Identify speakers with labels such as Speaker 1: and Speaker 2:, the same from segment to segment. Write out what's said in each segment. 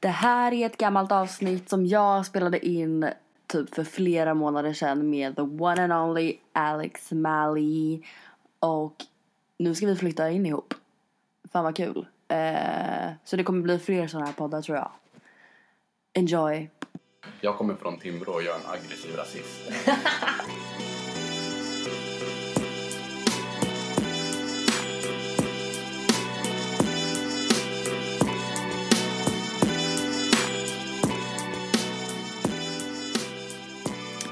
Speaker 1: Det här är ett gammalt avsnitt som jag spelade in typ för flera månader sedan med the one and only Alex Mally. Och nu ska vi flytta in ihop. Fan vad kul. Eh, så det kommer bli fler sådana här poddar tror jag. Enjoy.
Speaker 2: Jag kommer från Timrå och jag är en aggressiv rasist.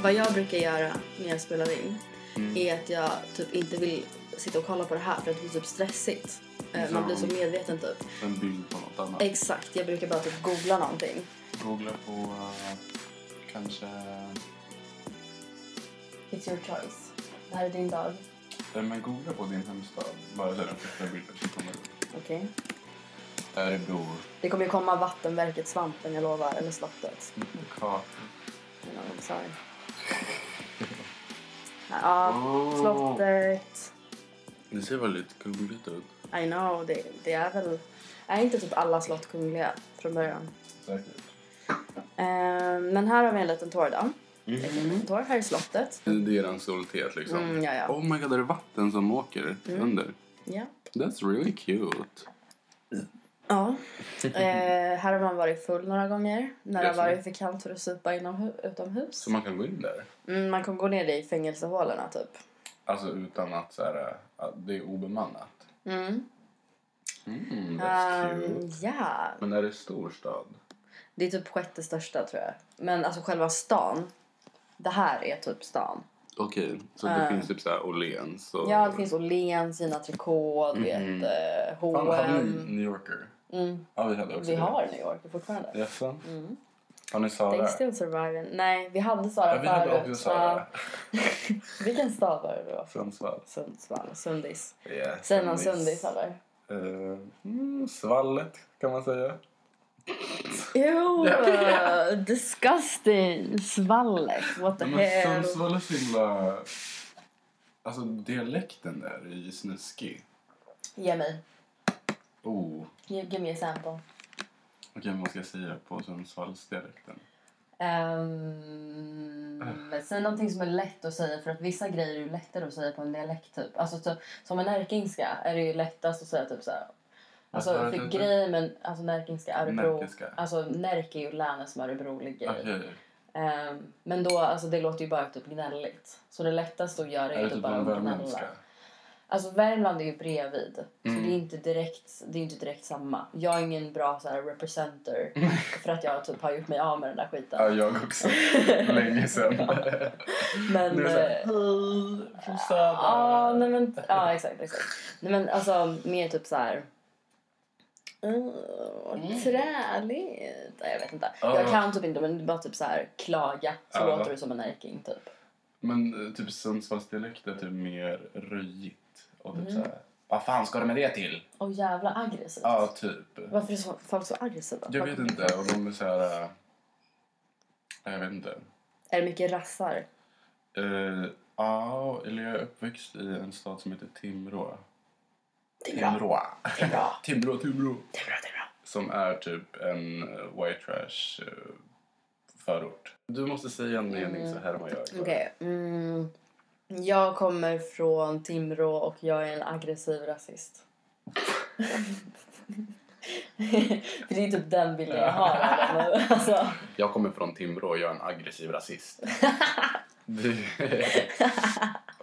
Speaker 3: Vad jag brukar göra när jag spelar in är att jag typ inte vill sitta och kolla på det här för att det blir typ stressigt. Eh, Man blir så medveten typ.
Speaker 2: En bild på något annat.
Speaker 3: Exakt, jag brukar bara typ googla någonting.
Speaker 2: Googla på eh, kanske...
Speaker 3: It's your choice. Det här är din dag.
Speaker 2: Nej, men googla på din hemstad. Bara så är den första bilden som kommer upp.
Speaker 3: Okej.
Speaker 2: Örebro.
Speaker 3: Det kommer ju komma vattenverket Svampen, jag lovar. Eller slottet.
Speaker 2: Kak.
Speaker 3: You know, I'm sorry. Ja,
Speaker 2: Oh.
Speaker 3: slottet.
Speaker 2: Det ser väldigt kungligt ut.
Speaker 3: I know, det, det är väl... Är inte typ alla slott kungliga från början?
Speaker 2: Säkert.
Speaker 3: Eh, Men här har vi en liten torr dag.
Speaker 2: Mm.
Speaker 3: En liten torr här i slottet.
Speaker 2: Det är den solitet liksom.
Speaker 3: Mm, ja, Mm. ja.
Speaker 2: Oh my god, är det vatten som åker under?
Speaker 3: Ja.
Speaker 2: That's really cute.
Speaker 3: Ja. Eh, här har man varit full några gånger. När det har
Speaker 2: Jaså.
Speaker 3: varit för kallt för att supa inomhu- utomhus.
Speaker 2: Så man kan gå in där?
Speaker 3: Mm, man kan gå ner i fängelsehålorna typ.
Speaker 2: Alltså utan att, så här, eh, att det är obemannat.
Speaker 3: Mm.
Speaker 2: Mm, that's
Speaker 3: Um,
Speaker 2: cute.
Speaker 3: ja.
Speaker 2: Men är det stor stad?
Speaker 3: Det är typ sjätte största tror jag. Men alltså själva stan. Det här är typ stan.
Speaker 2: Okej, så det finns typ så här Åhléns och...
Speaker 3: Eh. Ja, det finns Åhléns, Gina Tricot, du
Speaker 2: Mhm.
Speaker 3: vet eh,
Speaker 2: Fan, hade ni
Speaker 3: H&M.
Speaker 2: New Yorker?
Speaker 3: Mm.
Speaker 2: Ja, vi hade också
Speaker 3: Vi
Speaker 2: det.
Speaker 3: har Mm. New York fortfarande.
Speaker 2: Jaså? Har ni Sara?
Speaker 3: They still surviving. Nej, vi hade Sara
Speaker 2: Ja, vi hade
Speaker 3: förut.
Speaker 2: också
Speaker 3: va?
Speaker 2: Sara.
Speaker 3: Vilken stad var det då?
Speaker 2: Från Svall.
Speaker 3: Sundsvall, Sundis.
Speaker 2: Yeah,
Speaker 3: Säger man Sundis eller?
Speaker 2: Eh, mm, svallet kan man säga.
Speaker 3: Ew! eh, disgusting! Svallet, what the
Speaker 2: Men
Speaker 3: hell?
Speaker 2: Sundsvall är så himla... Alltså dialekten där är ju snuskig.
Speaker 3: Ge mig.
Speaker 2: Oh.
Speaker 3: Give, give me a sample.
Speaker 2: Okej, vad ska jag säga på Sundsvallsdialekten?
Speaker 3: Um, säg någonting som är lätt att säga för att vissa grejer är ju lättare att säga på en dialekt typ. Alltså så, som en närkingska är det ju lättast att säga typ så här. Alltså
Speaker 2: Vad sa du
Speaker 3: för
Speaker 2: att det
Speaker 3: grejen med alltså närkingska Örebro.
Speaker 2: Närkingska.
Speaker 3: Alltså Närke är ju länet som Örebro ligger i.
Speaker 2: Okej.
Speaker 3: Ehm, men då, alltså det låter ju bara typ gnälligt. Så det lättaste att göra är,
Speaker 2: Är det
Speaker 3: ju typ
Speaker 2: typ
Speaker 3: bara
Speaker 2: en
Speaker 3: att gnälla.
Speaker 2: värmländska?
Speaker 3: Alltså Värmland är ju bredvid.
Speaker 2: Mm.
Speaker 3: Så det är inte direkt, det är inte direkt samma. Jag är ingen bra så här representer. för att jag typ har gjort mig av med den där skiten.
Speaker 2: Ja, jag också. Länge sedan.
Speaker 3: Men...
Speaker 2: Nu är det så här,
Speaker 3: eh,
Speaker 2: Hej från
Speaker 3: Ja,
Speaker 2: söder.
Speaker 3: nej men... Ja, exakt, exakt. Nej men alltså mer typ så här... "Åh,
Speaker 2: Mm.
Speaker 3: träligt. Nej, Jag vet inte. Jag
Speaker 2: Ah.
Speaker 3: kan typ inte men bara typ så här klaga så
Speaker 2: Ja.
Speaker 3: låter du som en erking typ.
Speaker 2: Men eh, typ Sundsvallsdialekt är typ mer röjigt. Och
Speaker 3: Mm.
Speaker 2: typ såhär, vad fan ska du med det till?
Speaker 3: Åh jävla aggressivt.
Speaker 2: Ja, typ.
Speaker 3: Varför är så, folk så aggressiva?
Speaker 2: Jag vet inte. Och de är såhär... eh, Jag vet inte.
Speaker 3: Är det mycket rassar?
Speaker 2: Eh, Ja, eller jag är uppväxt i en stad som heter Timrå.
Speaker 3: Timrå.
Speaker 2: Timrå.
Speaker 3: Det är bra.
Speaker 2: Timrå, Timrå.
Speaker 3: Det är bra, det är bra.
Speaker 2: Som är typ en eh, white trash eh, förort. Du måste säga en mening så här man gör.
Speaker 3: Okej. Mm. Jag kommer från Timrå och jag är en aggressiv rasist. För det är typ den bilden jag har av dem nu. Alltså,
Speaker 2: Jag kommer från Timrå och jag är en aggressiv rasist. Du-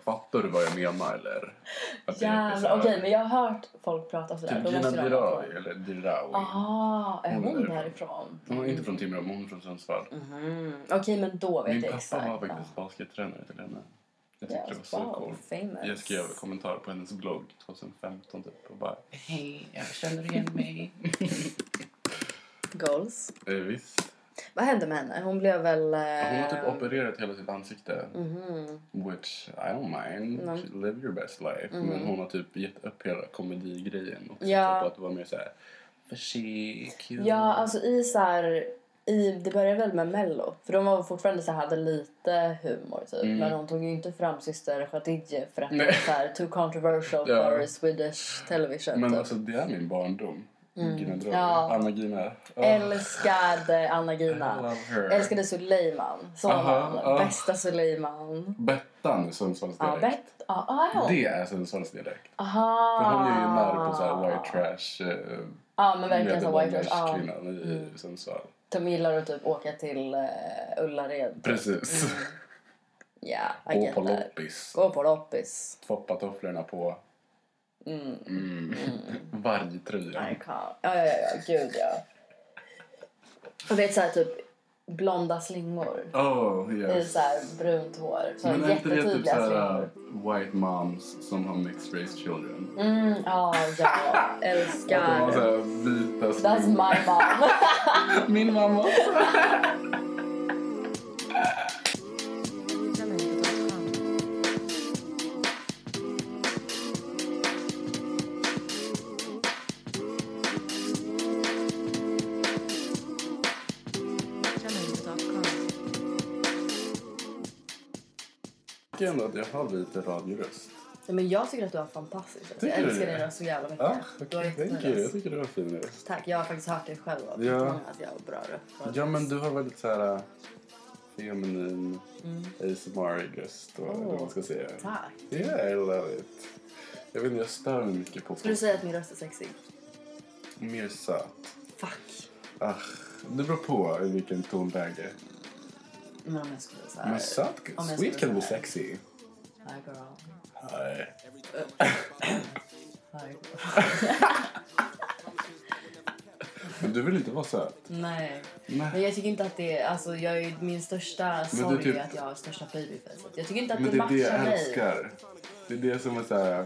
Speaker 2: Fattar du vad jag menar eller? Att det är
Speaker 3: Alltså,
Speaker 2: så
Speaker 3: jävlar.
Speaker 2: här-
Speaker 3: Okej, men jag har hört folk prata sådär.
Speaker 2: Typ
Speaker 3: Då
Speaker 2: Gina
Speaker 3: måste jag ha hört
Speaker 2: Dirawi
Speaker 3: dem.
Speaker 2: eller Dirawi.
Speaker 3: Ah. Aha, är
Speaker 2: Hon är
Speaker 3: hon
Speaker 2: därifrån.
Speaker 3: därifrån?
Speaker 2: Hon är inte från Timrå men hon är från Sundsvall.
Speaker 3: Mhm. Okej, men då vet
Speaker 2: Min
Speaker 3: jag
Speaker 2: pappa
Speaker 3: exakt.
Speaker 2: var faktiskt baskettränare till henne. Jag tyckte det var
Speaker 3: Yes,
Speaker 2: så
Speaker 3: wow,
Speaker 2: coolt.
Speaker 3: famous.
Speaker 2: Jag skrev kommentarer på hennes blogg 2015 typ och bara Hej, jag känner igen mig.
Speaker 3: Goals.
Speaker 2: eh, visst.
Speaker 3: Vad hände med henne? Hon blev väl...
Speaker 2: Hon har
Speaker 3: ehm,
Speaker 2: typ opererat hela sitt ansikte.
Speaker 3: mhm.
Speaker 2: Which I don't mind.
Speaker 3: Nej.
Speaker 2: Live your best life. Men hon har typ gett upp hela komedigrejen också.
Speaker 3: Mm. Ja.
Speaker 2: Typ att vara mer såhär försiktig.
Speaker 3: Ja, alltså i så här, i, det började väl med Mello. För de var fortfarande så här, hade lite humor typ. Men hon tog ju inte fram syster Khadija för att det
Speaker 2: Mm. Nej.
Speaker 3: var så här, too controversial
Speaker 2: Ja.
Speaker 3: for Swedish television
Speaker 2: Men
Speaker 3: typ.
Speaker 2: alltså det är min barndom. Gina-droger.
Speaker 3: Mm. Ja.
Speaker 2: Anna Gina. Ja.
Speaker 3: Älskade Anna
Speaker 2: I love
Speaker 3: Gina.
Speaker 2: her.
Speaker 3: Älskade Suleiman. Sonen.
Speaker 2: Aha, ja.
Speaker 3: Bästa Suleiman.
Speaker 2: Bettan i Sundsvalls
Speaker 3: Ja,
Speaker 2: dialekt.
Speaker 3: Bett. Ja, ah, ja.
Speaker 2: Det är Sundsvalls dialekt.
Speaker 3: Aha.
Speaker 2: För hon är ju narr på så här white trash, eh,
Speaker 3: Ah. Ja, men verkligen så white trash. Ah. Mm. Ja.
Speaker 2: medelålderskvinnan i Sundsvall.
Speaker 3: De gillar att typ åka till eh, Ullared. Mm.
Speaker 2: Precis.
Speaker 3: Ja, jag
Speaker 2: Gå på
Speaker 3: gettar.
Speaker 2: loppis.
Speaker 3: Gå på loppis.
Speaker 2: Tvoppa tofflorna på.
Speaker 3: Mm.
Speaker 2: Mm. Vargtröjan.
Speaker 3: Nej, kan. Ja, ja, ja, ja. Gud, ja. Och vet så här, typ blonda slingor i
Speaker 2: Oh, yes.
Speaker 3: så här brunt hår. Så
Speaker 2: Men är inte det typ
Speaker 3: jättetydliga
Speaker 2: såhär
Speaker 3: slingor.
Speaker 2: uh, white moms som har mixed race children?
Speaker 3: Mm, ja, ja.
Speaker 2: äh, Att de har
Speaker 3: Älskar.
Speaker 2: såhär vita
Speaker 3: That's
Speaker 2: slingor.
Speaker 3: my mom.
Speaker 2: Min mamma också. tycker ändå att jag har lite radioröst.
Speaker 3: Nej, men jag tycker att du har fantastisk röst. Jag
Speaker 2: Tycker du
Speaker 3: älskar
Speaker 2: det?
Speaker 3: din röst så jävla mycket.
Speaker 2: Ja,
Speaker 3: Du har
Speaker 2: Ah, okej.
Speaker 3: jättefin
Speaker 2: Thank you. Jag
Speaker 3: röst.
Speaker 2: tycker du har fin röst.
Speaker 3: Tack, jag har faktiskt hört det själv. av
Speaker 2: Ja.
Speaker 3: många Att jag har bra röst.
Speaker 2: Ja, men du har väldigt så här äh, feminin,
Speaker 3: Mm.
Speaker 2: ASMR-röst och
Speaker 3: Åh.
Speaker 2: vad man ska säga.
Speaker 3: Tack.
Speaker 2: Yeah, I love it. Jag vet inte, jag stör mig mycket på
Speaker 3: Ska du säga att min röst är sexig?
Speaker 2: mer söt.
Speaker 3: Fuck.
Speaker 2: Ah, det beror på i vilken tonläge.
Speaker 3: Men om jag skulle säga...
Speaker 2: Men söt,
Speaker 3: jag skulle
Speaker 2: sweet can be
Speaker 3: säga-
Speaker 2: sexy.
Speaker 3: Hi girl.
Speaker 2: Nej.
Speaker 3: Hi girl.
Speaker 2: Men du vill inte vara söt?
Speaker 3: Nej. Men
Speaker 2: Nej.
Speaker 3: jag tycker inte att det är, alltså jag är ju min största
Speaker 2: det är
Speaker 3: sorg
Speaker 2: typ-
Speaker 3: är att jag har största babyfacet. Jag tycker inte att
Speaker 2: Men
Speaker 3: det
Speaker 2: det är
Speaker 3: matchar
Speaker 2: det jag
Speaker 3: dig.
Speaker 2: älskar. Det är det som är så här...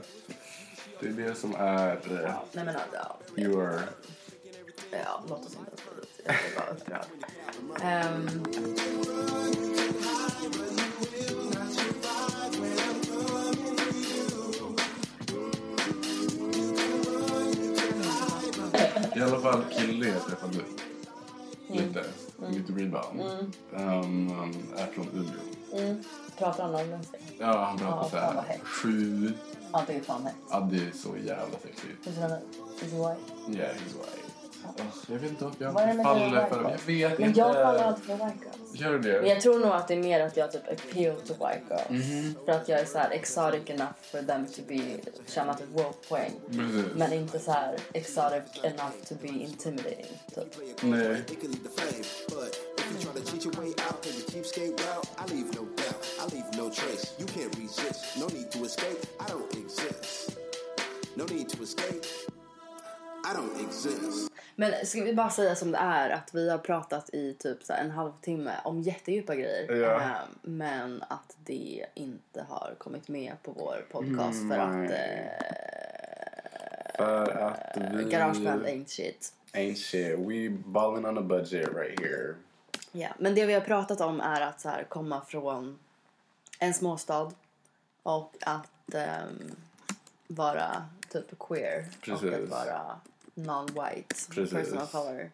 Speaker 2: Det är det som är... eh,
Speaker 3: Ja, nej men ja,
Speaker 2: Your...
Speaker 3: ja, låt oss inte ens gå dit. Jag blir bara upprörd. Ehm,
Speaker 2: I alla fall kille jag träffade
Speaker 3: Mm.
Speaker 2: lite. Mitt rebound. Um, um, är från Umeå.
Speaker 3: mm, pratar han norrländska?
Speaker 2: Ja, han pratar
Speaker 3: Ja,
Speaker 2: så
Speaker 3: fan vad
Speaker 2: här.
Speaker 3: hett.
Speaker 2: Sju.
Speaker 3: Han tycker fan hett.
Speaker 2: Ja, det är så jävla sexigt.
Speaker 3: Hur ser han ut? Is he white?
Speaker 2: Yeah, he's white. Ugh, jag vet inte varför
Speaker 3: Vad är det
Speaker 2: jag
Speaker 3: med
Speaker 2: faller
Speaker 3: dina
Speaker 2: för dem. Jag
Speaker 3: white
Speaker 2: vet
Speaker 3: Men
Speaker 2: inte.
Speaker 3: jag faller alltid för white girls.
Speaker 2: Gör du
Speaker 3: Men
Speaker 2: det?
Speaker 3: jag tror nog att det är mer att jag typ appeal to white girls.
Speaker 2: Mhm.
Speaker 3: För att jag är så här exotic enough for them to be, känna typ woke poäng.
Speaker 2: Precis.
Speaker 3: Men inte så här exotic enough to be intimidating. Typ.
Speaker 2: Nej.
Speaker 4: They can leave the flame, but if you try to cheat your way out, take the cheapskate route. I leave no doubt, I leave no trace. You can't resist, no need to escape. I don't exist. No need to escape. I don't exist.
Speaker 3: Men ska vi bara säga som det är att vi har pratat i typ så här en halvtimme om jättedjupa grejer.
Speaker 2: Ja.
Speaker 3: Eh, Men att det inte har kommit med på vår podcast för
Speaker 2: Mm, Nej.
Speaker 3: att eh,
Speaker 2: För att vi...
Speaker 3: garageband eh, ain't shit.
Speaker 2: Ain't shit. We balling on a budget right here.
Speaker 3: Ja, Men det vi har pratat om är att så här komma från en småstad och att ehm, vara typ queer och att
Speaker 2: Precis.
Speaker 3: vara non-white,
Speaker 2: Precis.
Speaker 3: person of color.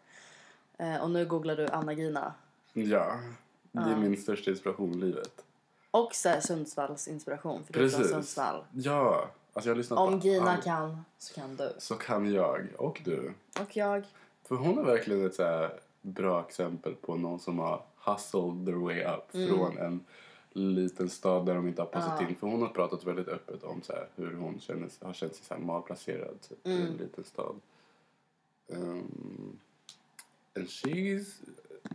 Speaker 3: Eh, och nu googlar du Anna-Gina.
Speaker 2: Ja. Det är min största inspiration i livet.
Speaker 3: Och så här Sundsvalls inspiration, för du är från
Speaker 2: Precis.
Speaker 3: Sundsvall.
Speaker 2: Ja. Alltså jag har lyssnat
Speaker 3: Om
Speaker 2: på
Speaker 3: Gina
Speaker 2: allt.
Speaker 3: kan, så kan du.
Speaker 2: Så kan jag. Och du.
Speaker 3: Och jag.
Speaker 2: För hon är verkligen ett så här bra exempel på någon som har hustled their way up från en liten stad där de inte har passat in. För hon har pratat väldigt öppet om så här hur hon känner, har känt sig så här malplacerad typ, i en liten stad. Um, and she's a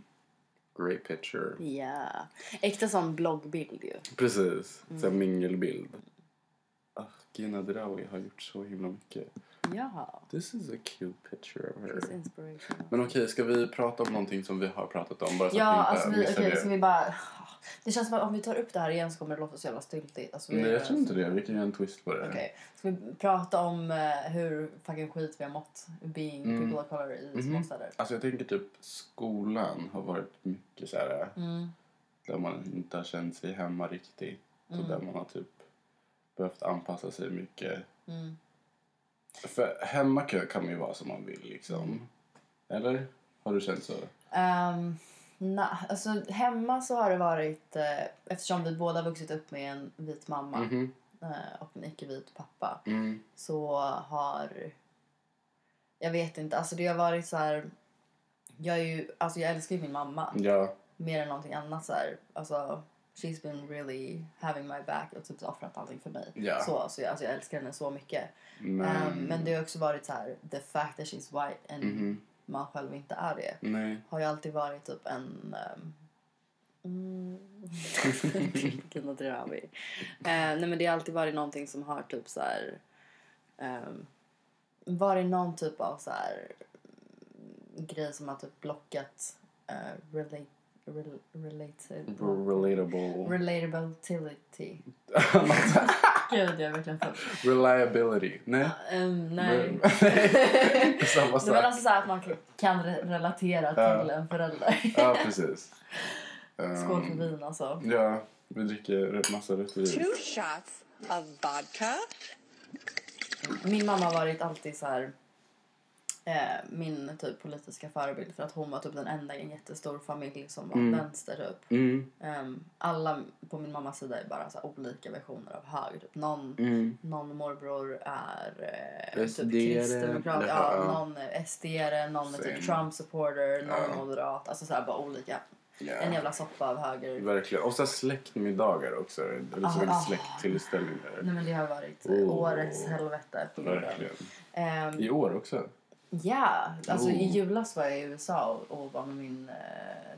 Speaker 2: great picture.
Speaker 3: Ja. Äkta sån bloggbild ju.
Speaker 2: Precis, mm. en mingelbild. Ah, Gina Drawi har gjort så himla mycket.
Speaker 3: Ja.
Speaker 2: This is a cute picture of her.
Speaker 3: It's inspirational.
Speaker 2: Men okej, ska vi prata om någonting som vi har pratat om? Bara så
Speaker 3: Ja,
Speaker 2: att vi inte
Speaker 3: alltså vi,
Speaker 2: missar
Speaker 3: okej,
Speaker 2: det.
Speaker 3: ska vi bara... Det känns som att om vi tar upp det här igen så kommer det låta så jävla styltigt. Alltså, vi-
Speaker 2: Nej, Mm, jag tror inte det. Vi kan göra en twist på det.
Speaker 3: Okej, ska vi prata om eh, hur fucking skit vi har mått being
Speaker 2: Mm.
Speaker 3: people of color i småstäder?
Speaker 2: Alltså jag tänker typ skolan har varit mycket så här
Speaker 3: Mm.
Speaker 2: där man inte har känt sig hemma riktigt
Speaker 3: Mm.
Speaker 2: och där man har typ behövt anpassa sig mycket.
Speaker 3: Mm.
Speaker 2: För hemma kan kan man ju vara som man vill liksom. Eller? Har du känt så?
Speaker 3: Ehm, na, alltså, hemma så har det varit, eh, eftersom vi båda vuxit upp med en vit mamma
Speaker 2: Mhm. Mm.
Speaker 3: eh, och en icke-vit pappa, så har Jag vet inte. Alltså det har varit så här... Jag, är ju, alltså jag älskar ju min mamma
Speaker 2: Ja,
Speaker 3: mer än någonting annat. Så här, alltså, she's been really having my back och typ offrat allting för mig.
Speaker 2: Ja.
Speaker 3: Så, så jag, alltså, jag älskar henne så mycket.
Speaker 2: men...
Speaker 3: Ehm, men det har också varit så här, the fact that she's white and
Speaker 2: Mhm.
Speaker 3: man själv inte är det.
Speaker 2: Nej.
Speaker 3: Har ju alltid varit typ en... ehm, Mm. Vilken drömmer. Uh, nej men det har alltid varit någonting som har typ så här... ehm, varit någon typ av så här mm, grej som har typ blockat eh, relate, rel, related,
Speaker 2: Mm. Relatable.
Speaker 3: relatability. Gud, jag är verkligen full.
Speaker 2: Reliability. Nej.
Speaker 3: Ehm,
Speaker 2: Mm.
Speaker 3: nej.
Speaker 2: Det är samma
Speaker 3: Nej, men
Speaker 2: sak.
Speaker 3: alltså så här att man kan- kan re- relatera
Speaker 2: Ja.
Speaker 3: till en förälder.
Speaker 2: Ja, precis. Ehm,
Speaker 3: Skål för vin alltså.
Speaker 2: Ja, vi dricker rätt massa rött vin.
Speaker 5: two shots of vodka.
Speaker 3: Min mamma har varit alltid så här eh, min typ politiska förebild för att hon var typ den enda i en jättestor familj som var vänster typ.
Speaker 2: Mm,
Speaker 3: Ehm, alla på min mammas sida är bara så här, olika versioner av höger. Typ. Någon,
Speaker 2: mm,
Speaker 3: någon morbror är eh, typ
Speaker 2: SD-are,
Speaker 3: kristdemokrat,
Speaker 2: eller
Speaker 3: ja,
Speaker 2: ja.
Speaker 3: någon är SD-are, någon är
Speaker 2: Same.
Speaker 3: typ Trump-supporter, någon
Speaker 2: Ja.
Speaker 3: moderat. Alltså så här, bara olika. En
Speaker 2: ja.
Speaker 3: jävla soppa av höger.
Speaker 2: Verkligen. Och så här släktmiddagar också. Eller så
Speaker 3: Ah, ah.
Speaker 2: en släkttillställningar.
Speaker 3: Nej men det har varit eh,
Speaker 2: Oh.
Speaker 3: årets helvete på jorden.
Speaker 2: Verkligen.
Speaker 3: Ehm,
Speaker 2: I år också.
Speaker 3: Ja, alltså i
Speaker 2: Oh.
Speaker 3: julas var jag i USA och, och var med min eh,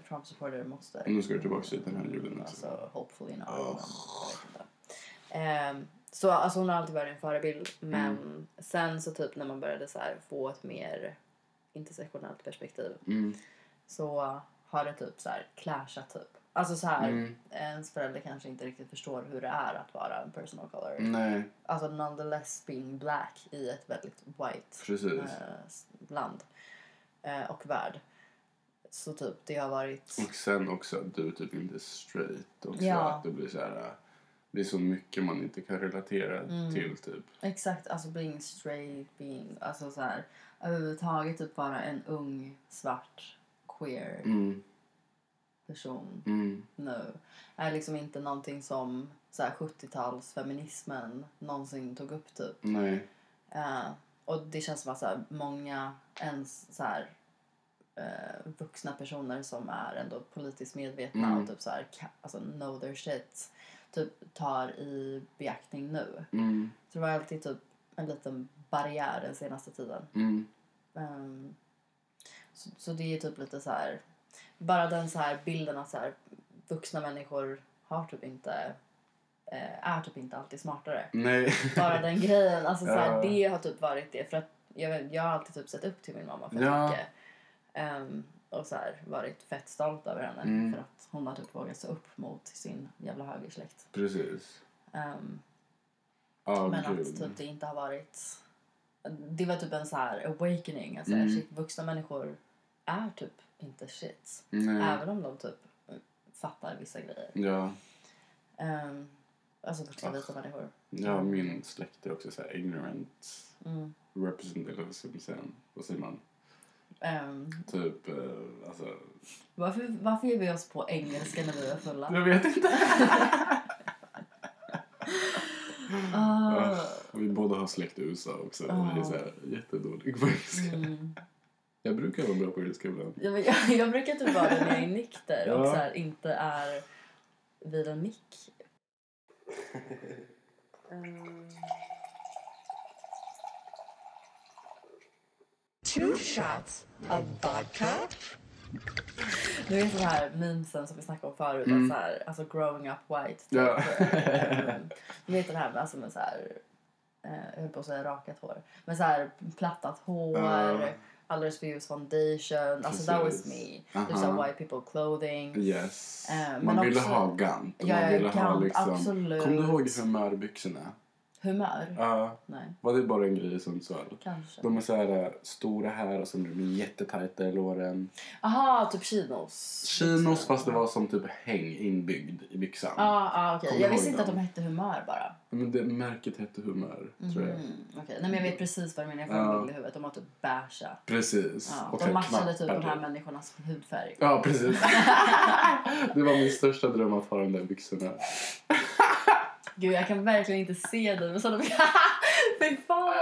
Speaker 3: Trump-supporter moster.
Speaker 2: Nu ska du tillbaka hit den här julen. Alltså.
Speaker 3: Alltså hopefully not.
Speaker 2: Oh.
Speaker 3: men jag vet inte. Ehm, så alltså, hon har alltid varit en förebild. Men
Speaker 2: Mm.
Speaker 3: sen så typ när man började så här, få ett mer intersektionellt perspektiv
Speaker 2: Mm.
Speaker 3: så har det typ så här clashat typ. Alltså så här,
Speaker 2: Mm.
Speaker 3: ens förälder kanske inte riktigt förstår hur det är att vara en person of color.
Speaker 2: Nej,
Speaker 3: Alltså nonetheless being black i ett väldigt white
Speaker 2: precis.
Speaker 3: eh, s- land eh, och värld. Så typ det har varit...
Speaker 2: Och sen också att du typ inte är straight. Också.
Speaker 3: Ja.
Speaker 2: Att det blir så här... äh, Det är så mycket man inte kan relatera
Speaker 3: Mm.
Speaker 2: till typ.
Speaker 3: Exakt, alltså being straight, being... Alltså så här, överhuvudtaget typ bara en ung, svart, queer
Speaker 2: Mm,
Speaker 3: person
Speaker 2: mm,
Speaker 3: nu är liksom inte någonting som så här 70-talsfeminismen någonsin tog upp typ.
Speaker 2: nej.
Speaker 3: Eh, och det känns som att så här, många ens så här, eh, vuxna personer som är ändå politiskt medvetna
Speaker 2: Mm.
Speaker 3: och typ så här, ka- alltså, know their shit typ tar i beaktning nu.
Speaker 2: Mm,
Speaker 3: Så det var alltid typ en liten barriär den senaste tiden.
Speaker 2: mm,
Speaker 3: Ehm, så, så det är typ lite så här... Bara den så här bilden att så här, vuxna människor har typ inte... eh, är typ inte alltid smartare
Speaker 2: nej.
Speaker 3: bara den grejen. Alltså, så
Speaker 2: Ja.
Speaker 3: här, Det har typ varit det. För att jag, vet- jag har alltid typ sett upp till min mamma för
Speaker 2: Ja.
Speaker 3: mycket. Ehm, och så här, varit fett stolt över henne
Speaker 2: Mm.
Speaker 3: för att hon har typ vågat stå upp mot sin jävla högersläkt.
Speaker 2: precis.
Speaker 3: Ehm,
Speaker 2: Ja,
Speaker 3: men
Speaker 2: gud.
Speaker 3: att typ, det inte har varit... Det var typ en så här awakening. Alltså,
Speaker 2: Mm.
Speaker 3: shit, vuxna människor är typ inte shit.
Speaker 2: nej.
Speaker 3: Även om de typ fattar vissa grejer.
Speaker 2: Ja.
Speaker 3: Ehm, alltså vuxna
Speaker 2: Ach.
Speaker 3: vita människor.
Speaker 2: Ja, min släkt är också så här ignorant
Speaker 3: Mm.
Speaker 2: representativism sen. Vad säger man?
Speaker 3: Ehm,
Speaker 2: Typ, eh, alltså...
Speaker 3: Varför, varför ger vi oss på engelska när vi är fulla?
Speaker 2: Jag vet inte.
Speaker 3: Ah.
Speaker 2: Vi båda har släkt i USA också. och Vi är så här jättedåliga på engelska.
Speaker 3: Mm.
Speaker 2: Jag brukar vara bra på engelska ibland.
Speaker 3: Jag, jag, jag brukar typ vara det när jag är nykter och
Speaker 2: Ja.
Speaker 3: så här, inte är vid en mick.
Speaker 5: Two shots of vodka.
Speaker 3: Du vet den här memesen som vi snackade om förut, att så här, alltså growing up white. typ.
Speaker 2: Mm. Ja.
Speaker 3: Mm. Du vet den här med, alltså med så här, eh, jag höll på att säga rakat hår, men så här plattat hår,
Speaker 2: Ja.
Speaker 3: alldeles för ljus foundation, alltså that was
Speaker 2: Precis.
Speaker 3: me. Typ så
Speaker 2: Aha.
Speaker 3: här white people clothing.
Speaker 2: Yes.
Speaker 3: Eh, men
Speaker 2: man ville
Speaker 3: också-
Speaker 2: ha gant.
Speaker 3: Ja,
Speaker 2: man
Speaker 3: ja,
Speaker 2: ville ha
Speaker 3: gant,
Speaker 2: liksom...
Speaker 3: absolut.
Speaker 2: Kommer du ihåg humörbyxorna?
Speaker 3: Humör?
Speaker 2: Ja.
Speaker 3: Nej,
Speaker 2: var det bara en grej i Sundsvall?
Speaker 3: kanske.
Speaker 2: De är så här eh, stora här och sen blir de jättetajta i låren.
Speaker 3: Aha, typ chinos.
Speaker 2: Chinos fast det var som typ häng inbyggd i byxan.
Speaker 3: Ja, ah, okej.
Speaker 2: Kommer
Speaker 3: Jag
Speaker 2: du
Speaker 3: visste
Speaker 2: ihåg
Speaker 3: inte att
Speaker 2: dem?
Speaker 3: de hette humör bara.
Speaker 2: Men det märket hette humör, tror jag.
Speaker 3: Mm, okej. Nej, men jag vet precis vad du menar. Jag får
Speaker 2: Ja.
Speaker 3: en bild i huvudet. De har typ beiga.
Speaker 2: Precis.
Speaker 3: Ja,
Speaker 2: Och så
Speaker 3: de matchade typ
Speaker 2: knappar
Speaker 3: de här människornas hudfärg.
Speaker 2: Ja, precis. det var min största dröm att ha de där byxorna.
Speaker 3: Gud, jag kan verkligen inte se dig med sådana... Fy fan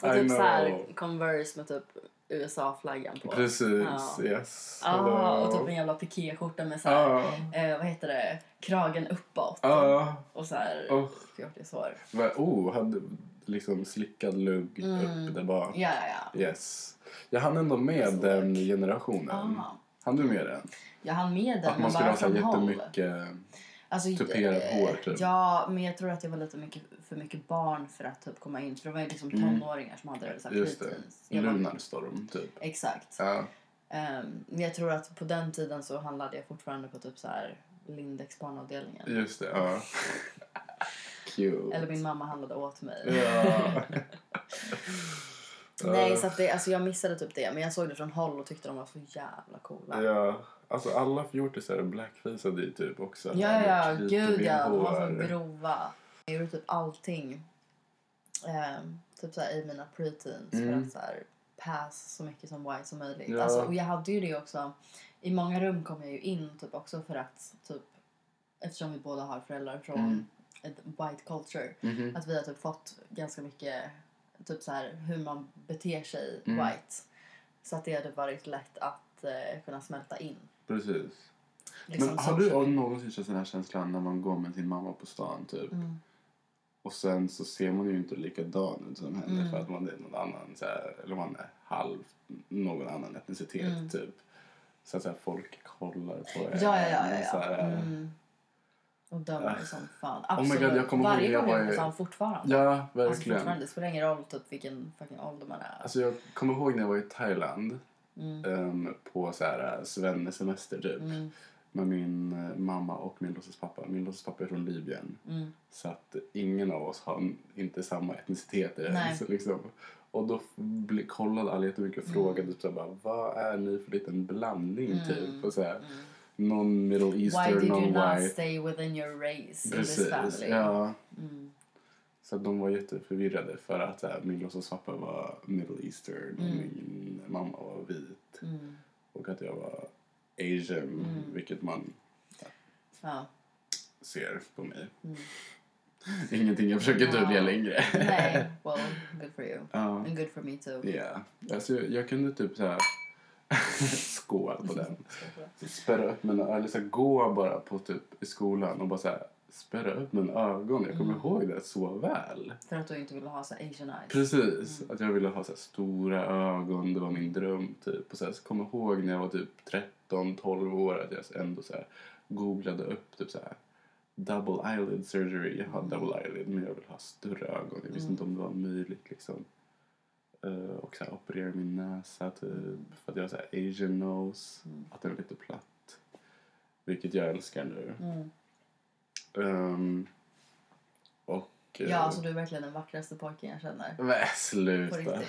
Speaker 3: vad Och
Speaker 2: I
Speaker 3: typ så här
Speaker 2: know.
Speaker 3: Converse med typ USA-flaggan på.
Speaker 2: Precis,
Speaker 3: Ja.
Speaker 2: yes.
Speaker 3: Ja,
Speaker 2: Hello.
Speaker 3: och typ en jävla pikéskjorta med så här,
Speaker 2: Ja,
Speaker 3: eh, vad heter det, kragen uppåt.
Speaker 2: ja.
Speaker 3: Och så här, typ
Speaker 2: Åh.
Speaker 3: fjortishår.
Speaker 2: Va- Oh, hade liksom slickad lugg upp där bak.
Speaker 3: Mm. Ja, ja, ja.
Speaker 2: Yes. Jag hann ändå med
Speaker 3: Så.
Speaker 2: den generationen.
Speaker 3: Ah.
Speaker 2: Hann du med den?
Speaker 3: Jag hann med den,
Speaker 2: Att man
Speaker 3: men
Speaker 2: skulle
Speaker 3: bara
Speaker 2: ha så
Speaker 3: från
Speaker 2: här
Speaker 3: håll.
Speaker 2: jättemycket...
Speaker 3: Alltså,
Speaker 2: tuperat
Speaker 3: eh,
Speaker 2: hår, typ.
Speaker 3: Ja, men jag tror att jag var lite mycket, för mycket barn för att typ komma in. För det var ju liksom tonåringar som hade det. Så här,
Speaker 2: Mm. Just det.
Speaker 3: preteens. Jag var-
Speaker 2: Lunarstorm, typ.
Speaker 3: Exakt.
Speaker 2: Ja.
Speaker 3: Ehm, men jag tror att på den tiden så handlade jag fortfarande på typ så här Lindex barnavdelningen.
Speaker 2: Just det, ja. Cute.
Speaker 3: Eller min mamma handlade åt mig.
Speaker 2: Ja.
Speaker 3: Nej, så att det, alltså jag missade typ det. Men jag såg det från håll och tyckte de var så jävla coola.
Speaker 2: ja. Alltså alla fjortisar är blackfaceade i typ också.
Speaker 3: Ja, ja,
Speaker 2: Med krita
Speaker 3: gud ja. De var
Speaker 2: bhar.
Speaker 3: så grova. Jag gjorde typ allting. ehm, typ såhär i mina preteens för att såhär pass så mycket som white som möjligt.
Speaker 2: Mm. Ja.
Speaker 3: Alltså, och jag hade ju det också. I många rum kom jag ju in typ också för att typ eftersom vi båda har föräldrar från
Speaker 2: Mm.
Speaker 3: ett white culture.
Speaker 2: Mhm.
Speaker 3: Att vi har typ fått ganska mycket typ så här hur man beter sig
Speaker 2: Mm.
Speaker 3: white. Så att det hade varit lätt att eh, kunna smälta in.
Speaker 2: Precis.
Speaker 3: Liksom
Speaker 2: Men har du
Speaker 3: socially.
Speaker 2: någonsin känt den här känslan när man går med sin mamma på stan typ?
Speaker 3: Mm.
Speaker 2: Och sen så ser man ju inte likadan ut som henne
Speaker 3: Mm.
Speaker 2: för att man är någon annan så här, eller man är halv någon annan etnicitet typ. Så att så här, folk kollar på en.
Speaker 3: Mm. Ja, ja, ja. ja,
Speaker 2: och Så
Speaker 3: ja.
Speaker 2: här,
Speaker 3: Mm. Och dömer som fan.
Speaker 2: Äh. Oh my God,
Speaker 3: Absolut.
Speaker 2: jag kommer ihåg
Speaker 3: Varje
Speaker 2: jag
Speaker 3: gång jag
Speaker 2: var
Speaker 3: är
Speaker 2: i-
Speaker 3: på stan fortfarande.
Speaker 2: ja,
Speaker 3: alltså,
Speaker 2: verkligen.
Speaker 3: fortfarande. Det spelar ingen roll typ, vilken fucking ålder man är.
Speaker 2: Alltså jag kommer ihåg när jag var i Thailand
Speaker 3: Mm.
Speaker 2: em, på så här svennesemester typ. Med min eh, mamma och min låtsaspappa. Min låtsaspappa är från Libyen.
Speaker 3: Mm.
Speaker 2: Så att ingen av oss har n- inte samma etnicitet
Speaker 3: Nej. Mm.
Speaker 2: ens, liksom. Och då f- bli, kollade alla jättemycket och frågade typ så här, bara, vad är ni för liten blandning typ? Och så här, Någon middle
Speaker 3: Mm. Why did
Speaker 2: eastern,
Speaker 3: you
Speaker 2: någon
Speaker 3: not
Speaker 2: white.
Speaker 3: stay within your race in this
Speaker 2: Precis,
Speaker 3: family?
Speaker 2: ja. Mm. Så att de var jätteförvirrade för att äh, min låtsaspappa var middle eastern och min mamma var vit. Och att jag var asian, vilket man
Speaker 3: Ja.
Speaker 2: ser på mig. Ingenting jag försöker dölja längre.
Speaker 3: Nej, well, good for you.
Speaker 2: Ja.
Speaker 3: And good for me too.
Speaker 2: Ja, alltså jag, jag kunde typ så här skål på den. Spärra upp mina ögon, eller så här, gå bara på typ i skolan och bara så här spärra upp mina ögon. Jag kommer ihåg det så väl.
Speaker 3: För att du inte ville ha så här asian eyes.
Speaker 2: Precis, att jag ville ha så här stora ögon, det var min dröm typ. Och så här, så kom jag ihåg när jag var typ 13, 12 år att jag ändå så här googlade upp typ så här double eyelid surgery. Jag har double eyelid men jag vill ha större ögon. Jag visste
Speaker 3: Mm.
Speaker 2: inte om det var möjligt liksom. Eh, och så här, operera min näsa typ för att jag har så här asian nose,
Speaker 3: Mm.
Speaker 2: att den är lite platt. Vilket jag älskar nu.
Speaker 3: Mm.
Speaker 2: Ehm, och... eh,
Speaker 3: Ja, alltså du är verkligen den vackraste pojken jag känner.
Speaker 2: men
Speaker 3: På
Speaker 2: sluta.
Speaker 3: riktigt.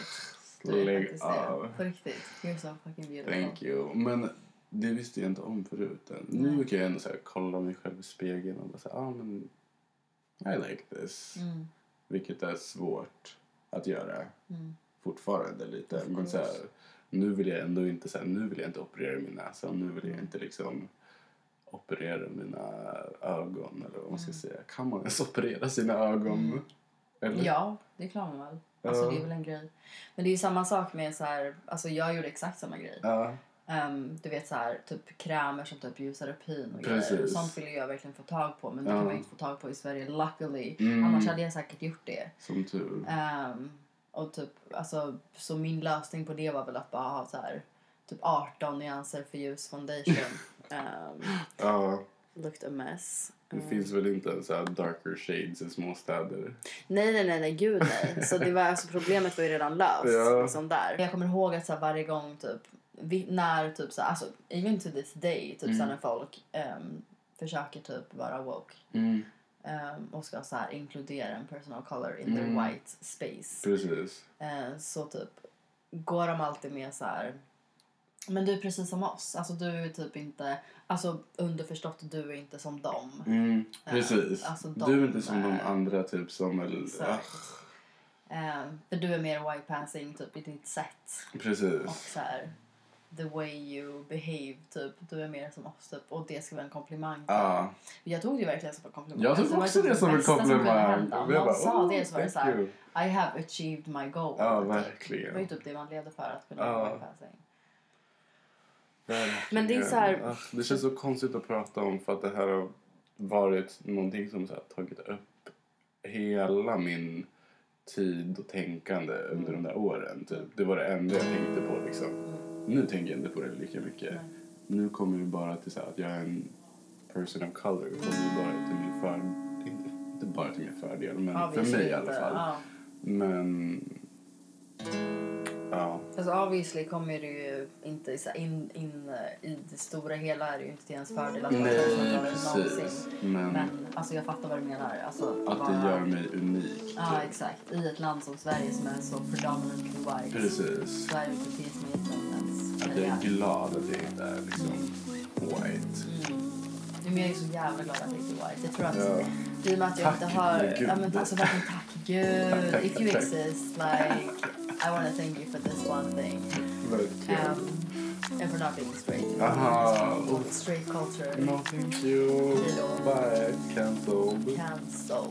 Speaker 3: Du är
Speaker 2: Lägg
Speaker 3: faktiskt det.
Speaker 2: av.
Speaker 3: På riktigt. You're so fucking beautiful.
Speaker 2: Thank you. Men det visste jag inte om förut. än. Nu kan jag ändå så här, kolla mig själv i spegeln och bara säga ah, men I like this.
Speaker 3: Mm.
Speaker 2: Vilket är svårt att göra
Speaker 3: Mm.
Speaker 2: fortfarande lite. Men så här, nu vill jag ändå inte så här, nu vill jag inte operera min näsa. Nu vill
Speaker 3: Mm.
Speaker 2: jag inte liksom operera mina ögon eller vad
Speaker 3: Mm.
Speaker 2: man ska säga. Kan man ens operera sina ögon? Eller?
Speaker 3: Ja, det klarar man väl. Alltså,
Speaker 2: Ja.
Speaker 3: Det är väl en grej. Men det är ju samma sak med så här... Alltså, jag gjorde exakt samma grej.
Speaker 2: Ja.
Speaker 3: Ehm, du vet så här, typ krämer som typ ljusar upp hyn och
Speaker 2: Precis.
Speaker 3: grejer. Sånt ville jag verkligen få tag på, men det
Speaker 2: Ja.
Speaker 3: kan man ju inte få tag på i Sverige, luckily.
Speaker 2: Mm.
Speaker 3: Annars hade jag säkert gjort det.
Speaker 2: Som tur.
Speaker 3: Ehm, och typ, alltså, så min lösning på det var väl att bara ha så här, typ 18 nyanser för ljus foundation. Ehm,
Speaker 2: Ja.
Speaker 3: looked a mess.
Speaker 2: Det finns väl inte ens så här darker shades i småstäder?
Speaker 3: Nej, nej, nej, nej, gud nej. Så det var, alltså, problemet var ju redan löst.
Speaker 2: Ja.
Speaker 3: Liksom där. Jag kommer ihåg att så här, varje gång, typ, vi, när typ så här, alltså, even to this day, typ så här, när folk ehm, försöker typ vara woke ehm, och ska så här, inkludera en person of color in their white space.
Speaker 2: Precis.
Speaker 3: Eh, så typ går de alltid med så här. Men du är precis som oss. Alltså du är typ inte, alltså underförstått du är inte som dem.
Speaker 2: Precis.
Speaker 3: alltså de
Speaker 2: du är inte som de
Speaker 3: är-
Speaker 2: andra typ som... ah, Eller,
Speaker 3: Exakt. Ehm, Eh, för du är mer white passing typ i ditt sätt.
Speaker 2: ah, precis.
Speaker 3: Och så här, the way you behave typ. Du är mer som oss typ och det ska vara en komplimang.
Speaker 2: Ja.
Speaker 3: Jag tog det verkligen som en komplimang.
Speaker 2: Ah. Jag tog
Speaker 3: det var
Speaker 2: också
Speaker 3: typ
Speaker 2: det som en
Speaker 3: bästa som kunde
Speaker 2: komplimang.
Speaker 3: hända. Om
Speaker 2: Jag
Speaker 3: Någon
Speaker 2: bara,
Speaker 3: sa
Speaker 2: "Oh,
Speaker 3: det så var det
Speaker 2: thank
Speaker 3: såhär,
Speaker 2: you."
Speaker 3: I have achieved my goal.
Speaker 2: Ja,
Speaker 3: Typ.
Speaker 2: verkligen.
Speaker 3: Det var ju typ det man levde för, att kunna
Speaker 2: Ja.
Speaker 3: ja. sig.
Speaker 2: Verkligen.
Speaker 3: Men det är så här-
Speaker 2: Ah, Det känns så konstigt att prata om för att det här har varit någonting som så här, tagit upp hela min tid och tänkande under de där åren. Typ. Det var det enda jag tänkte på. Liksom. Nu tänker jag inte på det lika mycket. Nu kommer det bara till så här, att jag är en person of color. Det kommer ju bara till min för... inte- Inte bara till min fördel, men
Speaker 3: Ja,
Speaker 2: för
Speaker 3: visst,
Speaker 2: mig i alla
Speaker 3: inte.
Speaker 2: fall.
Speaker 3: Ja.
Speaker 2: Men... Ja.
Speaker 3: Alltså obviously kommer det ju inte så här in, in eh, i det stora hela är det ju inte till ens fördel att vara
Speaker 2: Nej,
Speaker 3: den som tar det
Speaker 2: precis.
Speaker 3: någonsin.
Speaker 2: Men
Speaker 3: Men alltså jag fattar vad du menar. Alltså,
Speaker 2: att det
Speaker 3: vara-
Speaker 2: gör typ. mig unik.
Speaker 3: Ja exakt. I ett land som Sverige som är så predominantly white.
Speaker 2: Precis.
Speaker 3: Så är det inte finns med utan ens
Speaker 2: Att jag är glad att jag inte är liksom white.
Speaker 3: Men jag är så jävla glad att det inte är white. Jag tror att
Speaker 2: Ja.
Speaker 3: i och med att jag
Speaker 2: Tack,
Speaker 3: inte har...
Speaker 2: gud.
Speaker 3: Ja, men alltså verkligen tack gud.
Speaker 2: tack,
Speaker 3: If you
Speaker 2: tack.
Speaker 3: exist, like I wanna thank you for this one thing.
Speaker 2: Verkligen.
Speaker 3: Um, and for not being straight.
Speaker 2: Aha. Oh,
Speaker 3: Straight culture.
Speaker 2: no thank you.
Speaker 3: Hejdå.
Speaker 2: Bye. Cancelled.
Speaker 3: Cancel.